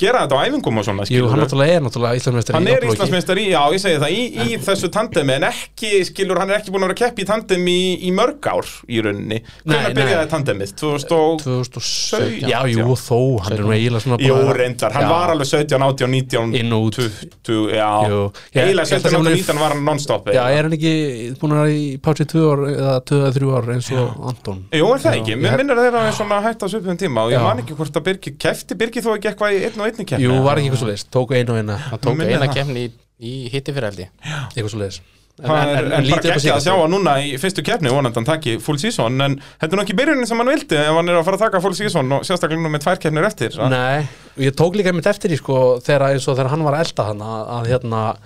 Speaker 1: gera þetta á æfingum og svona
Speaker 2: Jú,
Speaker 1: skilurðu.
Speaker 2: hann náttúrulega er náttúrulega Íslandsmeistari
Speaker 1: hann er Íslandsmeistar í, já ég segi það, í, í þessu tandemi en ekki, skilur, hann er ekki búin að vera að keppi í tandemi í, í mörg ár í rauninni
Speaker 2: Nei,
Speaker 1: hvernig
Speaker 2: nei.
Speaker 1: byrjaði tandemið? 2000 og-
Speaker 2: 2017 Já,
Speaker 1: Já.
Speaker 2: jú, þó, hann er nú eiginlega svona
Speaker 1: Jú,
Speaker 2: bara-
Speaker 1: reyndar, hann
Speaker 2: Já.
Speaker 1: var alveg 17, 18, 19
Speaker 2: Inn og út.
Speaker 1: 20, já,
Speaker 2: Jú. Ég-
Speaker 1: eiginlega
Speaker 2: ég held að
Speaker 1: 17,
Speaker 2: hann
Speaker 1: 18,
Speaker 2: er-
Speaker 1: 19 var hann non-stop
Speaker 2: Já,
Speaker 1: eiginlega.
Speaker 2: er hann ekki búin að vera í pátsi 2 ár eða 2-3 ár eins og Anton
Speaker 1: Jú, er það ekki, mér
Speaker 2: ég-
Speaker 1: minnir að þeirra er svona hægt á svipum tíma og ég
Speaker 2: Já.
Speaker 1: man ekki hvort að Birgi kefti, Birgi þó ekki eitthvað í einn og einni kefni
Speaker 2: Jú, var ekki eitthvað svo leist, tók einu og eina
Speaker 3: hann tók
Speaker 1: Minnir
Speaker 3: eina
Speaker 1: það.
Speaker 3: kemni í, í hitti fyrir held ég
Speaker 2: eitthvað svo leiðis en,
Speaker 1: Það er, en, bara
Speaker 2: upp á
Speaker 1: ekki að
Speaker 2: síðkastið.
Speaker 1: sjá að núna í fyrstu keppni vonandi hann takki full season en þetta er nú ekki byrjunin sem hann vildi ef hann er að fara að taka full season og sérstaklega nú með tvær keppnir eftir að-
Speaker 2: Nei, og ég tók líka mitt eftir í sko þegar, eins og þegar hann var að elda hann að, að hérna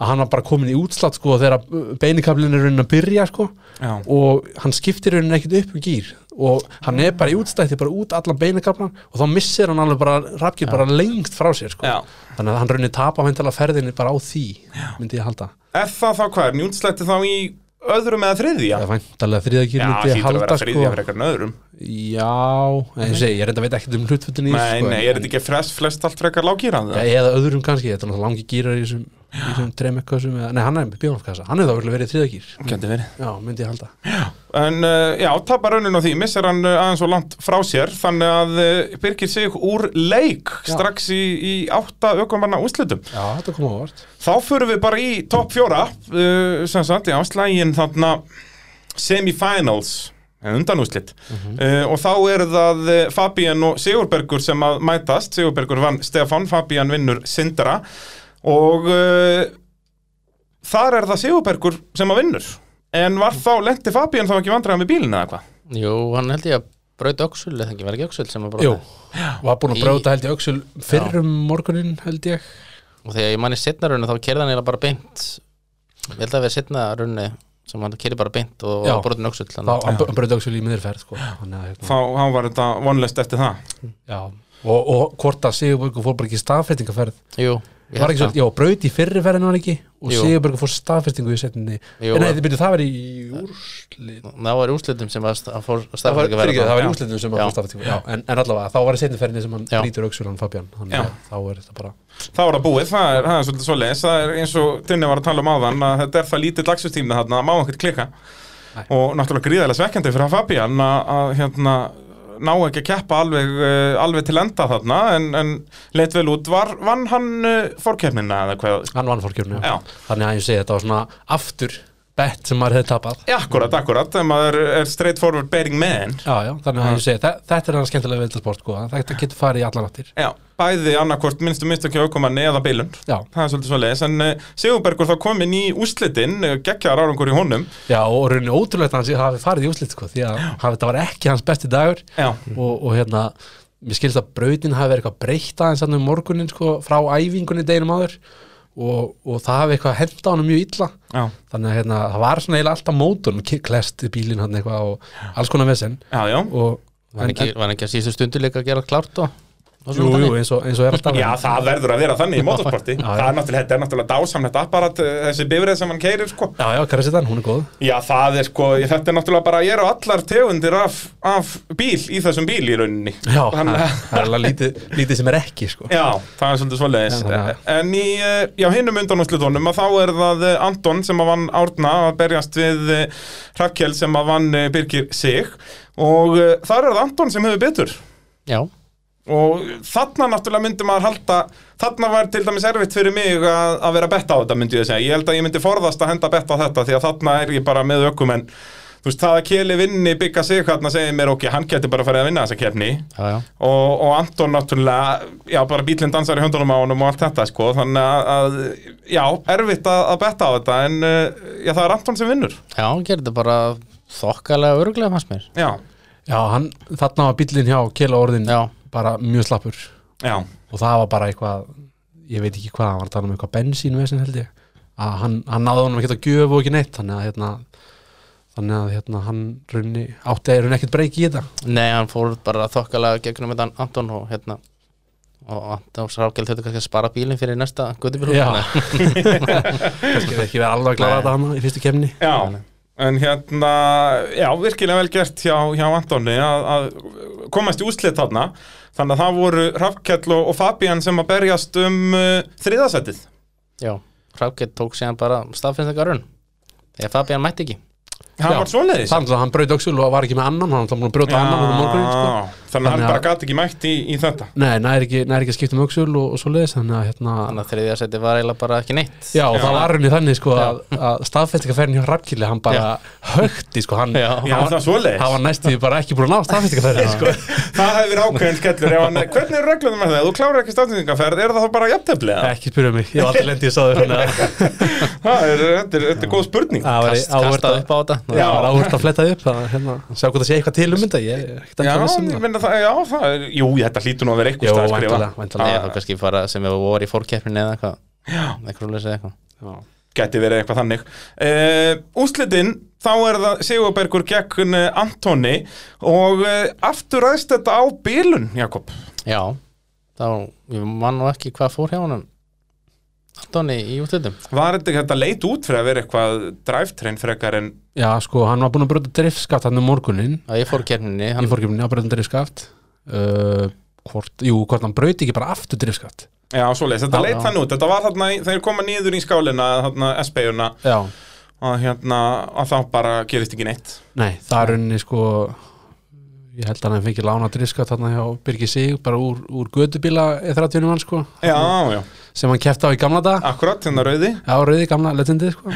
Speaker 2: að hann var bara komin í útslátt sko þegar beinikablin er raunin að byrja sko
Speaker 1: Já.
Speaker 2: og hann skiptir raunin ekkit upp um gýr og hann er bara í útstætti bara út allan beinikablan og þá missir hann alveg bara rafkið bara lengst frá sér sko
Speaker 1: Já.
Speaker 2: þannig að hann raunin tapa væntalega ferðinni bara á því Já. myndi ég halda
Speaker 1: Er það þá hvað er, njútslætti þá í öðrum eða þriðja?
Speaker 2: það er væntalega þriða gýr
Speaker 1: Já,
Speaker 2: myndi ég
Speaker 1: hlýtur að
Speaker 2: halda
Speaker 1: vera
Speaker 2: sko
Speaker 1: þriðja fyrir eitthvað öðrum
Speaker 2: Já, en ég segi, ég reynda veit ekkert um hlutfutin í þessu,
Speaker 1: Nei,
Speaker 2: sko,
Speaker 1: nei,
Speaker 2: en-
Speaker 1: er þetta ekki flest, flest allt frekar lágýrað?
Speaker 2: Já, eða öðrum kannski, þetta er náttúrulega langi gýrar í þessum, í þessum tremekkassum eða, nei hann er með bjónafkassa, hann hefði þá örugglega verið þriðagýr
Speaker 1: Gæti verið
Speaker 2: já, myndi ég halda
Speaker 1: En uh, já, tapar raunin á því, missir hann uh, aðeins og langt frá sér Þannig að uh, Birgir sig úr leik
Speaker 2: Já.
Speaker 1: strax í, í átta aukumanna úrslitum
Speaker 2: já, þetta kom á vart
Speaker 1: Þá förum við bara í topp fjóra uh, sem sagt, já, slægin þarna semifinals en undanúslit uh, og þá er það uh, Fabian og Sigurbergur sem að mætast, Sigurbergur vann Stefan, Fabian vinnur Sindra og uh, þar er það Sigurbergur sem að vinnur en var þá, lendi Fabian þá ekki vandræða með bílinu eða hvað?
Speaker 3: Jú, hann held ég að brauti öxul eða ekki, var ekki öxul sem að
Speaker 2: Jú,
Speaker 3: brauti
Speaker 2: var búin að
Speaker 3: Í-
Speaker 2: brjóta held ég öxul fyrrum morgunin held ég
Speaker 3: og þegar ég manni setna rauninu þá kerði hann eiginlega bara beint ég held að við setna rauninu sem hann kerði bara beint og
Speaker 2: Já.
Speaker 3: brotin öxul
Speaker 2: þá
Speaker 3: þannig að-
Speaker 2: hann brjóta öxul í miðurferð sko. Þannig að, hérna,
Speaker 1: Þá, þá var þetta vonlist eftir það
Speaker 2: já, og, og hvort að Sigurbergur fór bara ekki í staðfestingaferð
Speaker 3: Jú, ég
Speaker 2: var
Speaker 3: held
Speaker 2: ekki svo,
Speaker 3: það.
Speaker 2: já, braut í fyrri ferðinu var ekki og
Speaker 3: Jú.
Speaker 2: Sigurbergur fór staðfestingu í setninni
Speaker 3: Jú,
Speaker 2: en nei,
Speaker 3: að-
Speaker 2: þið byrjuð það verið í úrslit
Speaker 3: það var í úrslitum sem að sta- að fór
Speaker 2: það var,
Speaker 3: staðfæðingar
Speaker 2: fyrirgeðu, það var í
Speaker 1: Já.
Speaker 2: úslitinu sem
Speaker 3: Já.
Speaker 2: hann staðfætti já, en, en allavega, þá var í setni ferðinni sem hann
Speaker 3: Já.
Speaker 2: lítur öxul hann Fabian hann,
Speaker 1: Já.
Speaker 2: þá er þetta bara
Speaker 1: Þá er það búið, það er, það er svolítið svo leis Það er eins og Tinni var að tala um áðan að þetta er það lítið dagsvistími þarna, má ekkert klika
Speaker 2: Nei.
Speaker 1: og náttúrulega gríðarlega svekkjandi fyrir að Fabian að, að hérna, ná ekki að keppa alveg, eh, alveg til enda þarna en, en leit vel út, var, vann hann eh, fórkeppnina eða hvað?
Speaker 2: hann vann fórkjörnu
Speaker 1: Já.
Speaker 2: þannig að ég segi þetta var svona aftur bett sem maður hefði tapað
Speaker 1: Já, akkurat, akkurat, þegar maður er straight forward bearing man
Speaker 2: já, já, þannig að ég segi þe- þetta er hann skemmtilega veldasport sko. þetta getur farið í allan áttir
Speaker 1: Já, bæði annarkvort minnstu mistökja aukumanni eða bilun
Speaker 2: já,
Speaker 1: Það er svolítið svo leis, en uh, Sigurbergur þá komin í úslitin, uh, geggjar árangur í honum
Speaker 2: já og rauninni ótrúlegt að hann sé hafi farið í úslit sko, því að hafi, þetta var ekki hans besti dagur
Speaker 1: Já,
Speaker 2: og, og hérna mér skilst að brautin hafi verið eitthvað breytt aðeins hann um morgunin sko, frá æfingunni deginum áður og, og það hafi eitthvað henda honum mjög illa
Speaker 1: já
Speaker 2: þannig að hérna, það var svona eiginlega alltaf mótun klest bílinn hann eitthvað og alls konar vesen
Speaker 1: Já, já,
Speaker 2: og
Speaker 3: var ekki, var ekki að síðustu stundu líka að gera klárt og, og
Speaker 2: jú, jú, eins og, eins og er alltaf
Speaker 1: Já, það verður að vera
Speaker 2: (laughs)
Speaker 1: þannig í motorsporti
Speaker 2: Já, já.
Speaker 1: Það er náttúrulega, þetta er náttúrulega dásamlegt apparat eh, þessi bifrið sem hann keirir, sko
Speaker 2: já, já, Karasitan, hún er góð
Speaker 1: Já, það er sko, ég- þetta er náttúrulega bara ég er á allar tegundir af, af bíl í þessum bíl í rauninni
Speaker 2: já,
Speaker 1: Hann-
Speaker 2: það (laughs) það er alveg lítið, lítið sem er ekki sko.
Speaker 1: Já, það er svolítið svoleiðis
Speaker 2: Já, já.
Speaker 1: En í, eh, já, hinnum undanúslutunum að þá er það eh, Anton sem að vann Árna að berjast við Rakkel eh, sem að vann eh, Birgir Sig og eh, þar er það Anton sem hefur betur
Speaker 3: já,
Speaker 1: og þarna náttúrulega myndi maður halda þarna var til dæmis erfitt fyrir mig að, að vera að betta á þetta myndi ég segja ég held að ég myndi forðast að henda betta á þetta því að þarna er ég bara með ökumenn þú veist það að Keli vinni bygga sig þarna segir mér ok, hann geti bara farið að vinna þessa kefni
Speaker 3: já, já.
Speaker 1: og, og Anton náttúrulega já bara bílinn dansar í höndunum á honum og allt þetta sko þannig að, að já erfitt að, að betta á þetta en uh, já það er Anton sem vinnur
Speaker 3: já, hann gerir þetta bara þokkalega öruglega fannst mér
Speaker 1: já,
Speaker 2: Já, hann, þarna var bíllinn hjá Kela orðin
Speaker 3: Já.
Speaker 2: bara mjög slappur
Speaker 1: já,
Speaker 2: og það var bara eitthvað ég veit ekki hvað, hann var að tala um eitthvað bensínvesin held ég að hann, hann náði honum ekkert að gjöf og ekki neitt þannig að hérna þannig að hérna hann runni átti að runni ekkert breyki í þetta
Speaker 3: Nei, hann fór bara þokkalega gegnum þetta Anton og hérna og Anton Srákjöld höfðu kannski að spara bílinn fyrir næsta guttubíl
Speaker 2: Já kannski er ekki verið alveg að klára þetta hann í fyrstu kemni
Speaker 1: já En hérna, já, virkilega vel gert hjá, hjá Antoni að, að komast í úslit þarna. Þannig að það voru Rafkell og, og Fabian sem að berjast um uh, þriðasætið.
Speaker 3: Já, Srákjöld tók síðan bara staðfinnstingarun þegar Fabian mætti ekki
Speaker 1: Það
Speaker 2: Já.
Speaker 1: var svoleiðis.
Speaker 2: þannig að hann braut öxul og var ekki með annan hann var búin að brjóta annan hann morgunin sko.
Speaker 1: Ah, Þannig að hann
Speaker 2: Þannig að-
Speaker 1: bara gati ekki mætt í, í þetta.
Speaker 2: nei, næri ekki, nær ekki að skipta um öxul og, og svo leiðis þannig að hérna
Speaker 3: þannig að þriðja seti var eiginlega bara ekki neitt
Speaker 2: Já, og
Speaker 1: Já.
Speaker 2: það var runni þannig sko að, að staðfestingaferðin hjá Rafkili, hann bara högti sko, hann,
Speaker 3: Já.
Speaker 1: Já, það
Speaker 2: hann,
Speaker 1: var svoleiðis.
Speaker 2: hann var næstu bara ekki búin að ná staðfestingaferðin sko.
Speaker 1: (laughs) Það hefði verið ákveðin skellur. ef Hann, hvernig er reglunum með það? Ef Þú klárar ekki stafningaferð, er það þá bara jafnteflega?
Speaker 2: ekki spyrja mig, ég var alltaf lendið í sáður þannig að
Speaker 1: Það er, þetta er, þetta er góð spurning.
Speaker 2: það var
Speaker 3: Kast, kastað upp á þetta
Speaker 1: Já.
Speaker 2: Það var áhvert að fletta því upp að hérna, sjá hvað það sé eitthvað til um þetta ég er ekkert
Speaker 1: Já,
Speaker 2: endilega viss um
Speaker 1: ég meina það, já, það er, jú, þetta hlýtur nú að vera eitthvað Ah,
Speaker 2: Jú,
Speaker 1: stað að skrifa.
Speaker 2: væntanlega, væntanlega.
Speaker 3: Eða þá kannski fara sem við voru í fórkeppninni eða eitthvað eitthvað rúlega segja eitthvað
Speaker 2: það.
Speaker 1: gæti verið eitthvað þannig uh, Úslitin, þá er það Sigurbergur gegn eh, Antoni og uh, aftur ræðst þetta á bílun, Jakob
Speaker 3: Já, þá, ég man nú ekki hvað fór hjá honum Antoni í útlutum
Speaker 1: Var þetta ekki þetta leit út fyrir að vera eitthvað drivetrain frekar en
Speaker 2: Já, sko, hann var búin að brota driftskaft hann um morgunin
Speaker 3: að ég fór keppninni,
Speaker 2: í
Speaker 3: hann
Speaker 2: fórkjöfni að brota driftskaft uh, hvort, jú, hvort hann brauti ekki bara aftur driftskaft
Speaker 1: Já, svoleiðis, þetta
Speaker 3: Já,
Speaker 1: leit
Speaker 3: já.
Speaker 1: þannig út, þetta var þarna, í- þeir koma niður í skálina, þarna SB-una
Speaker 2: Já,
Speaker 1: og hérna, að þá bara gerist ekki neitt
Speaker 2: nei, það er unni sko ég held að hann fengi lána driftskaft hann hjá Birgi Sig bara úr, úr gödubíla eða 30 mann sko
Speaker 3: Mhm.
Speaker 1: Já, já,
Speaker 2: sem hann kefti á í gamla dag
Speaker 1: akkurat, hérna rauði
Speaker 3: (laughs)
Speaker 2: Já, rauði gamla letindi sko.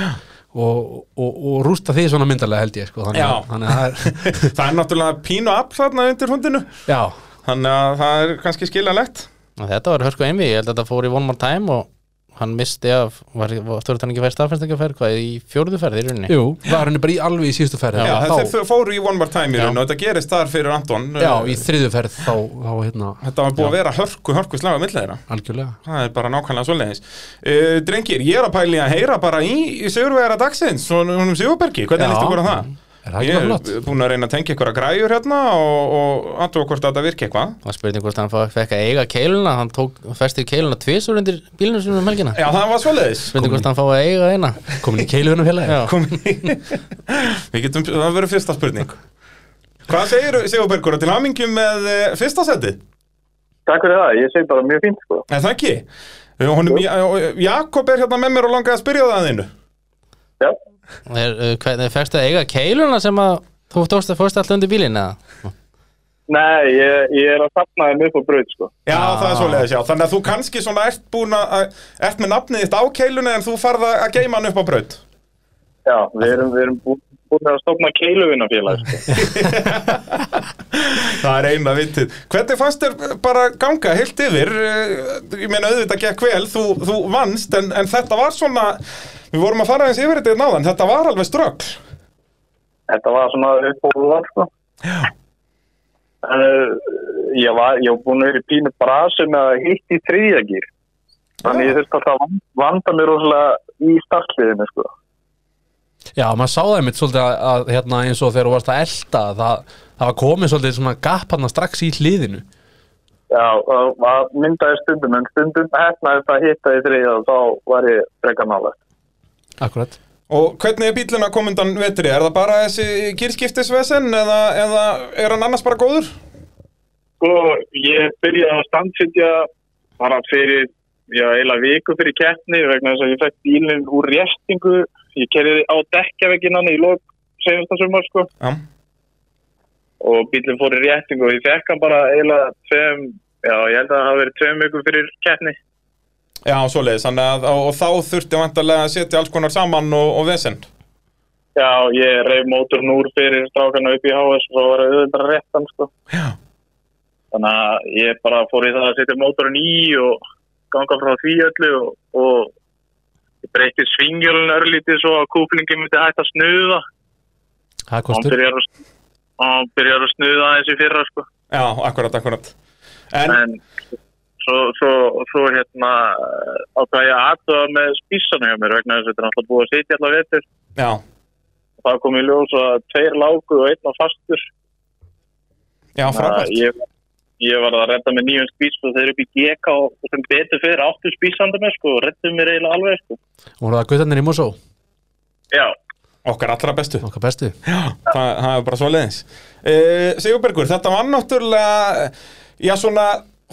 Speaker 2: og, og, og rústa því svona myndarlega held ég sko. þannig,
Speaker 1: Já.
Speaker 2: að- þannig að það er
Speaker 1: Það er náttúrulega pínu app þarna undir hundinu
Speaker 2: Já,
Speaker 1: Þannig að það er kannski skiljanlegt
Speaker 3: Og Þetta var hörku einvið, ég held að þetta fór í One More Time og hann misti af, var, var þurfti hann ekki að færa staðfærstingaferð, hvað í fjórðu ferð í rauninni?
Speaker 2: jú, það er henni bara í alveg í síðustu ferð
Speaker 1: Já,
Speaker 2: þá,
Speaker 1: þeir þau fóru í One More Time í
Speaker 3: Já.
Speaker 1: raun og þetta gerist þar fyrir Anton
Speaker 2: já,
Speaker 1: eh,
Speaker 2: í þriðju ferð þá, þá hérna,
Speaker 1: Þetta var búið að vera hörku, hörku slaga millir þeirra
Speaker 2: algjörlega
Speaker 1: Það er bara nákvæmlega svoleiðis uh, Drengir, ég er að pæli að heyra bara í, í Sigurvegara dagsins, honum honum Sigurbergi Hvernig
Speaker 2: Já.
Speaker 1: líst ykkur á það?
Speaker 2: Er það ekki
Speaker 1: Ég
Speaker 2: bara flott?
Speaker 1: er búin að reyna að tengja ykkur að græjur hérna og, og aðtóa hvort þetta virki eitthvað
Speaker 3: Og spurning hvort hann fá- fekk að eiga keiluna, hann tók, festi keiluna tvisur undir bílunum sem um helgina.
Speaker 1: Já, það var svoleiðis
Speaker 2: (laughs)
Speaker 3: Spurning hvort hann fá að eiga eina.
Speaker 2: Komin í keilugunum félagi
Speaker 3: Já,
Speaker 1: Kom- Við getum, það verður fyrsta spurning Hvað segir Sigurbergur til hamingjum með eh, fyrsta seti?
Speaker 4: Takk fyrir það, ég segi bara mjög fínt sko.
Speaker 1: Nei, það ekki Eh, honum, Ja- Jakob er hérna með mér og langaði að spyrja það að þínu
Speaker 4: Já,
Speaker 3: er, uh, hvernig fekst að eiga keiluna sem að þú tókst að fórst alltaf undir bílinn eða?
Speaker 4: nei, ég, ég er að sapna þeim upp á braut sko.
Speaker 1: Já, það er svoleiðis, já. Þannig að þú kannski svona ert búin að, ert með nafnið þitt á keilunni en þú farð að að geima hann upp á braut.
Speaker 4: Já, við erum, við erum bú- búin að stofna keiluvinnafélag sko.
Speaker 1: Það er eina vitið. Hvernig fannst þér bara ganga heilt yfir? Eh, Ég meina auðvitað gekk vel, þú, þú vannst, en, en þetta var svona, við vorum að fara aðeins yfir þetta náðan, þetta var alveg strögg.
Speaker 4: Þetta var svona upp og var sko. Já Ég var, ég var búin að vera í pínu brasi með að hitt í þriðjagýr Þannig ég þurfti alltaf að van- vanda mér rosalega í startliðinu sko.
Speaker 2: Já, maður sá það mitt svolítið að, að hérna, eins og þegar þú varst að elta það, það var komið svolítið svona gap hann strax í hliðinu
Speaker 4: Já, og það myndaði stundum en stundum hefnaði það hitta í þriðja og þá var ég frekar nálega
Speaker 2: Akkurat
Speaker 1: Og hvernig er bíluna komundan vetri? Er það bara þessi gýrskiptisvesen eða, eða er hann annars bara góður?
Speaker 4: Sko, ég byrjaði að standsitja bara fyrir, já, eiginlega viku fyrir keppni vegna þess að ég fekk bílinn úr réttingu. Ég kerði á dekkjavegginan í lók senasta sumar, sko,
Speaker 1: Já.
Speaker 4: og bílinn fór í réttingu og ég fekk hann bara eiginlega tveim Já, ég held að það hafi verið tveim vikum fyrir keppni.
Speaker 1: Já, svoleiðis, þannig að og, og þá þurfti vantarlega að setja alls konar saman og, og vesend.
Speaker 4: Já, ég reyf mótorn úr fyrir strákana upp í HS og svo var auðvitað réttan, sko.
Speaker 1: Já.
Speaker 4: Þannig að ég bara fór í það að setja mótorn í og ganga frá því öllu og, og ég breytti svingjölun örlítið svo að kúplingin myndi hægt að snuða.
Speaker 2: Það
Speaker 4: Og Hann
Speaker 2: kostur
Speaker 4: byrjar að, hann byrjar að snuða aðeins í fyrra, sko.
Speaker 1: Já, akkurat, akkurat. En,
Speaker 4: en svo, svo, svo hérna ákvað ég að aðtöða með spísana hjá mér vegna þess að þetta er alltaf búið að sitja allar vetur
Speaker 1: já,
Speaker 4: og það kom í ljós að tveir lágu og einn á fastur
Speaker 1: já, frábært.
Speaker 4: Að ég, ég var að redda með nýjum spís og þeir eru upp í GK og sem betur fyrir áttu spísandar með sko og reddu mér eiginlega alveg sko
Speaker 2: Og voru það guttarnir í Mosó,
Speaker 4: Já, (laughs)
Speaker 1: Okkar allra bestu.
Speaker 2: okkar bestu
Speaker 1: Já, það, það er bara svo leiðins. Sigurbergur, þetta var náttúrulega, já svona,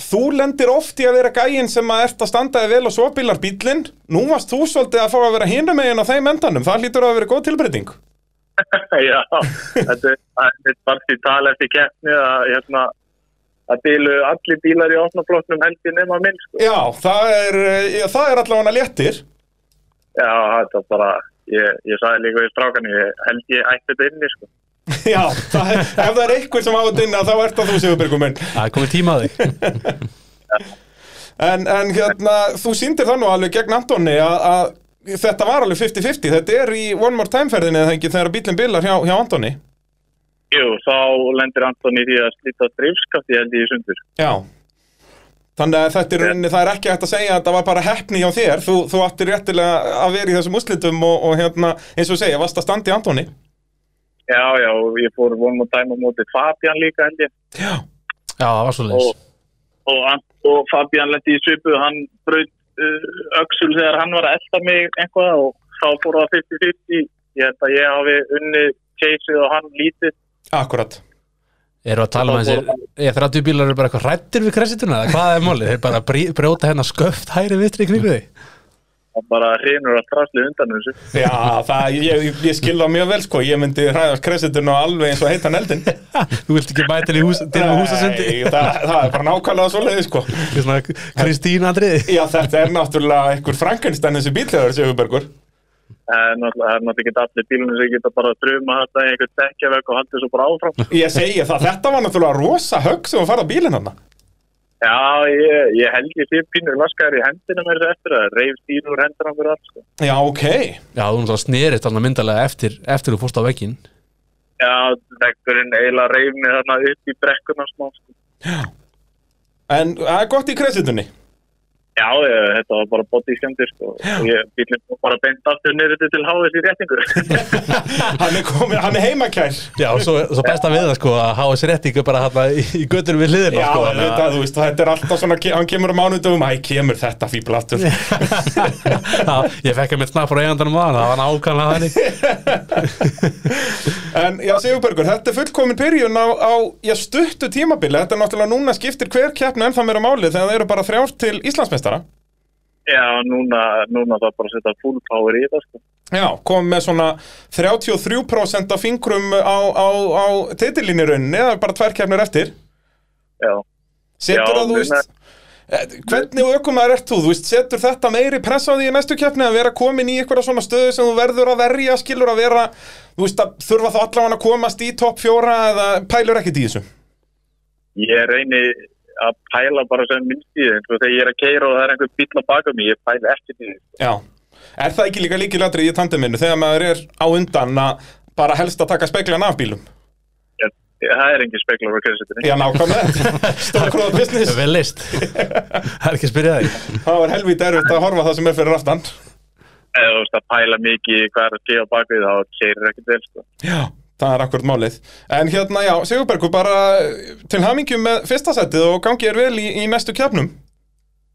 Speaker 1: þú lendir oft í að vera gæinn sem að ert að standaði vel og svo bílar bílinn. Nú varst þú svolítið að fá að vera hinum megin á þeim endanum. Það hlýtur að vera góð tilbreyting.
Speaker 4: já þetta er- þetta er bara því tala eftir keppni að hérna að bílu allir bílar í opnafloknum helgi nema minn sko
Speaker 1: Já, það er, eh, já, það er allavega léttir.
Speaker 4: Já, þetta er bara ég, ég sagði líka í strákanu ég held ég ætti þetta inni sko
Speaker 1: (laughs) Já, það, ef það er einhver sem á að dynna þá ert það þú Sigurbergur minn.
Speaker 2: Það er komið tíma að þig
Speaker 1: En, en hérna, þú sýndir það nú alveg gegn Antoni að, að þetta var alveg 50-50, þetta er í One More Time ferðinni eða ekki þegar bílinn bilar hjá, hjá Antoni.
Speaker 4: Jú, þá lendir Anton í því að slita drifskaft ég held ég í sundur.
Speaker 1: Já. Þannig að þetta er rauninni, það er ekki hægt að segja að það var bara heppni hjá þér, þú, þú áttir réttilega að vera í þessum úslitum og, og hérna, eins og segja, varst að standa í Antoni.
Speaker 4: Já, já, og ég fór vonum og dæma móti Fabian líka held ég
Speaker 1: Já.
Speaker 2: Já, það var svo
Speaker 4: og, og, Ant- og Fabian lendi í svipu, hann braut uh, öksul þegar hann var að elda mig einhvað og þá fór það 50-50 ég held að ég hafi unni chaseið og hann lítið
Speaker 1: Akkurat.
Speaker 2: (laughs) Eru að tala um þessir, ég 30 bílar eru bara eitthvað hrættir við kressituna, eða hvað er málið? Þeir bara brí- brjóta hennar sköft hæri vitri í kringu þig
Speaker 4: og bara hrinur að trasli undan þessu
Speaker 1: Já, það, ég, ég- ég skil það mjög vel sko, ég myndi hræðast kressitun og alveg eins og heitan eldin.
Speaker 2: (laughs) Þú vilt ekki mæta henni í hús, til að húsa sundi
Speaker 1: Nei, það, það er bara nákvæmlega svo sko.
Speaker 2: Kristín Andriði
Speaker 1: Já, þetta er náttúrulega einhver Frankenstein þessi bílhjóður, Sigurbergur.
Speaker 4: það er náttúrulega það er náttúrulega ekki allir bílunum sem geta bara að dröma þetta í einhvern tekjavegg og haldið svo bara áfram
Speaker 1: Ég segi það, þetta var náttúrulega rosa högg sem að fara bílinn hann.
Speaker 4: Já, ég, ég held ég sé pínur laskaðar í hendina mér þessu eftir að reyf dýr úr hendur á mér allt, sko.
Speaker 1: Já, ok.
Speaker 2: Já, þú náttúrulega snerist þarna myndalega eftir, eftir þú fórst á vegginn
Speaker 4: Já, veggurinn eiginlega reyf mig þarna upp í brekkuna smá, sko.
Speaker 1: En það er gott í kresitunni.
Speaker 4: Já, ég, þetta var bara bótt í skjöndir, sko. Og ég bílum bara beint aftur niður til háðis í réttingur.
Speaker 1: (laughs) hann er komið, hann er heimakær.
Speaker 2: Já, og svo, svo besta við það sko að hafa sér rétt ykkur bara hérna í, í göttunum við hliðina
Speaker 1: Já,
Speaker 2: sko,
Speaker 1: þetta,
Speaker 2: þannig að-
Speaker 1: þú veist, þetta er alltaf svona, ke- hann kemur á mánudum, æ, kemur þetta fíblatur.
Speaker 2: (laughs) Já, ég fekk að mitt snapp frá eigandanum á hann, það var nákvæmlega þannig
Speaker 1: En, já, Sigurbergur, þetta er fullkomin byrjun á, á já, stuttu tímabili. Þetta er náttúrulega núna skiptir hver keppni ennþá meira máli þegar það eru bara þrjár til Íslandsmeistara.
Speaker 4: Já, núna, núna það bara að setja full power í þetta, sko.
Speaker 1: Já, komið með svona 33% af fingrum á, á, á titilinni rauninni, það er bara tvær keppnir eftir.
Speaker 4: Já,
Speaker 1: Setur
Speaker 4: Já,
Speaker 1: það, þú veist eh, Hvernig aukumæður ert þú, þú veist, setur þetta meiri press á því í næstu keppni að vera komin í einhverja svona stöðu sem þú verður að verja, skilur að vera þú veist, að þurfa þá allavega að komast í topp fjóra eða pælur ekkert í þessu
Speaker 4: ég reyni að pæla bara sem minnst í þeim, sko. Þegar ég er að keira og það er einhver bíl að baka mig, ég pæla ekki í sko. þeim.
Speaker 1: Já, er það ekki líka líkilatri í tandeminu þegar maður er á undan að bara helst að taka speglan af bílum
Speaker 4: Það er engin speklar á kjörsetinni.
Speaker 1: Já, nákvæmlega, (laughs) stórkróða business
Speaker 2: Vel list Það er ekki að spyrja þig
Speaker 1: Það var helvítið erfitt að horfa á það sem er fyrir aftan
Speaker 4: eða þú veist að pæla mikið í hvað er að gefa bakvið þá keirir ekkert vel sko.
Speaker 1: Já, það er akkurat málið En hérna, já, Sigurbergur, bara eh, til hamingjum með fyrsta setið og gangi er vel í, í næstu kjafnum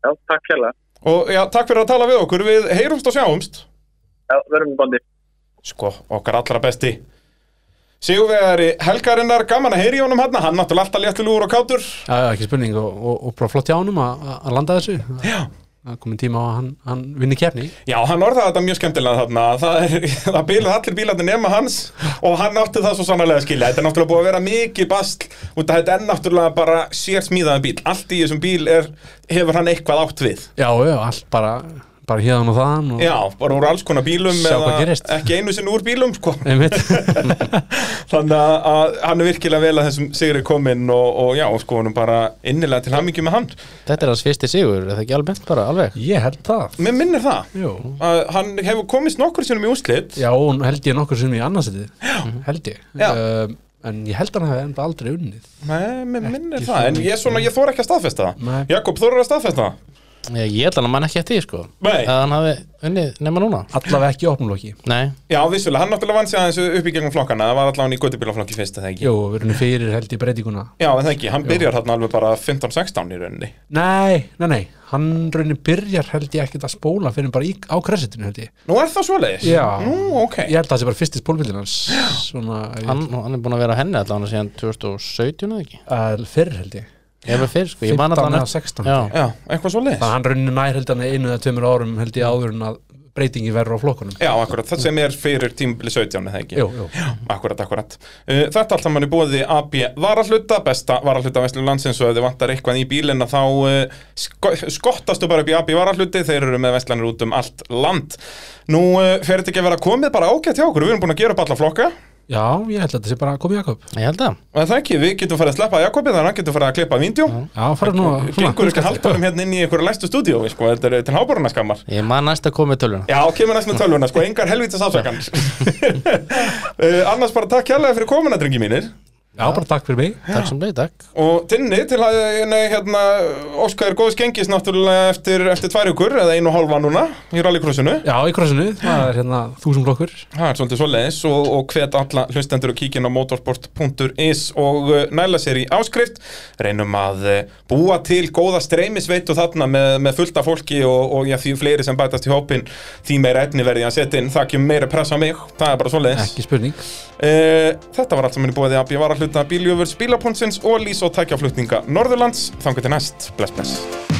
Speaker 4: Já, takk hella.
Speaker 1: Og já, takk fyrir að tala við okkur, við heyrumst og sjáumst
Speaker 4: Já, verðum í bandi.
Speaker 1: Sko, okkar allra besti Sigurvegari Helgarinnar, gaman að heyri honum hann Hann náttúrulega alltaf léttilegur og kátur
Speaker 2: Já, já, ekki spurning og, og, og bara flott hjá honum að- að að landa þessu
Speaker 1: Já
Speaker 2: það er komin tíma á að hann, hann vinni kefni
Speaker 1: Já, hann orðaði þetta mjög skemmtilega þarna það, er, (laughs) það bílið allir bílarnir nema hans og hann átti það svo sannarlega að skilja þetta er náttúrulega búið að vera mikið basl út að þetta er náttúrulega bara sér smíðaðan bíl allt í þessum bíl er, hefur hann eitthvað átt við
Speaker 2: Já, já, allt bara, bara hérðan og þaðan og
Speaker 1: Já, bara úr alls konar bílum
Speaker 2: Sjá hvað
Speaker 1: eða
Speaker 2: gerist.
Speaker 1: ekki einu sinni úr bílum sko.
Speaker 2: einmitt
Speaker 1: þannig að- að hann er virkilega vel að þessum sigri kominn og, og já, sko, hann bara innilega til hamingju með hann
Speaker 3: Þetta er hans fyrsti sigur, er það ekki alveg bara, alveg?
Speaker 2: (laughs) Ég held það
Speaker 1: Mér minnir það
Speaker 2: Jú.
Speaker 1: að hann hefur komist nokkur sinnum í úslit
Speaker 2: Já, og held ég nokkur sem ég annarsætið Held ég
Speaker 1: Já.
Speaker 2: um, En ég held hann hefði enda aldrei unnið
Speaker 1: Nei, mér minnir
Speaker 2: Ekki
Speaker 1: það, en
Speaker 2: svo
Speaker 1: ég, svona, ég þor ekki að staðfesta það
Speaker 2: Nei.
Speaker 1: Jakob, þor að staðfesta það?
Speaker 3: Ég, ég held hann að mann ekki eftir því, sko
Speaker 1: Nei.
Speaker 3: Að hann hafi unnið nema núna
Speaker 2: Allavega ekki í opnumloki
Speaker 3: Nei,
Speaker 1: Já, vissulega, hann náttúrulega vann sig aðeins upp í gegnum flokkana það var allavega hann í göttubílaflokki fyrst, eða ekki
Speaker 2: Jú, við erum fyrir held ég breytinguna
Speaker 1: Já, en það ekki, hann byrjar hann alveg bara 15-16 í rauninni
Speaker 2: Nei, nei, nei, hann raunin byrjar held ég ekkert að spóla fyrir bara í, á kressitinu held ég
Speaker 1: Nú er það svoleiðis?
Speaker 2: Já.
Speaker 1: Nú, ok
Speaker 2: Ég held að það sé bara fyrsti spólbildin hans Svona, hann,
Speaker 3: hann, hann er búin að vera á henni allan síðan 2017 eða ekki
Speaker 2: uh, fyrr held ég
Speaker 3: Ég er fyrr, sko, ég man
Speaker 2: 15
Speaker 3: allan
Speaker 2: eða
Speaker 3: eftir-
Speaker 2: 16
Speaker 3: Já,
Speaker 1: Já, eitthvað svoleiðis
Speaker 2: Þannig að hann raunin nær held hann einu eða tveimur árum held ég áður en að breytingi verður á flokkunum
Speaker 1: Já, akkurat, það sem er fyrir tímabili 17, eða ekki
Speaker 2: Jú, jú.
Speaker 1: Já, akkurat, akkurat uh, Þetta allt saman er búið í AB varahluta besta varahluta vestlum landsins og ef þið vantar eitthvað í bílinna þá uh, sko skottastu bara upp í AB varahluti þeir eru með vestlanir út um allt land Nú uh, fer þetta ekki að vera komið bara ágætt hjá okkur, við erum búin að gera upp alla flokka
Speaker 2: Já, ég held að þetta sé bara komið Jakob
Speaker 3: ég held að
Speaker 1: Það er ekki, við getum farið að sleppa Jakobi þannig að hann getur farið að klippa víndjó
Speaker 2: Já, fara nú
Speaker 1: Gengur ekki að halda honum hérna inn í einhverju læstu stúdíó sko, þetta er til háboruna skammar
Speaker 3: Ég man næst að koma í tölvuna
Speaker 1: Já, kemur næst með tölvuna, sko, engar helvítis afsökan uh, Annars bara takk kjærlega fyrir komuna, drengi mínir
Speaker 2: Já, bara takk fyrir mig
Speaker 3: Takk sem leið, takk
Speaker 1: Og Tinni til að, nei, hérna, Óskar góðs gengis náttúrulega eftir, eftir tvær ykkur eða einu og hálfa núna í rallycrossinu
Speaker 2: Já, í krossinu, það er hérna þúsum blokkur
Speaker 1: Það er svolítið svoleiðis og, og hvet alla hlustendur og kíkin á motorsport.is og uh, næla sér í áskrift reynum að uh, búa til góða streymisveitu þarna með, með fullta fólki og, og já, því fleiri sem bætast í hópin því meira efni verði ég að setja inn það kemur meira pressa á mig, það er bara svoleiðis
Speaker 2: Ekki spurning
Speaker 1: Uh, þetta var allt saman í búiði að bjöfara hluta bíljöfurs, bílaponsins og lís og tækjaflutninga Norðurlands. Þangu til næst. Bless, bless.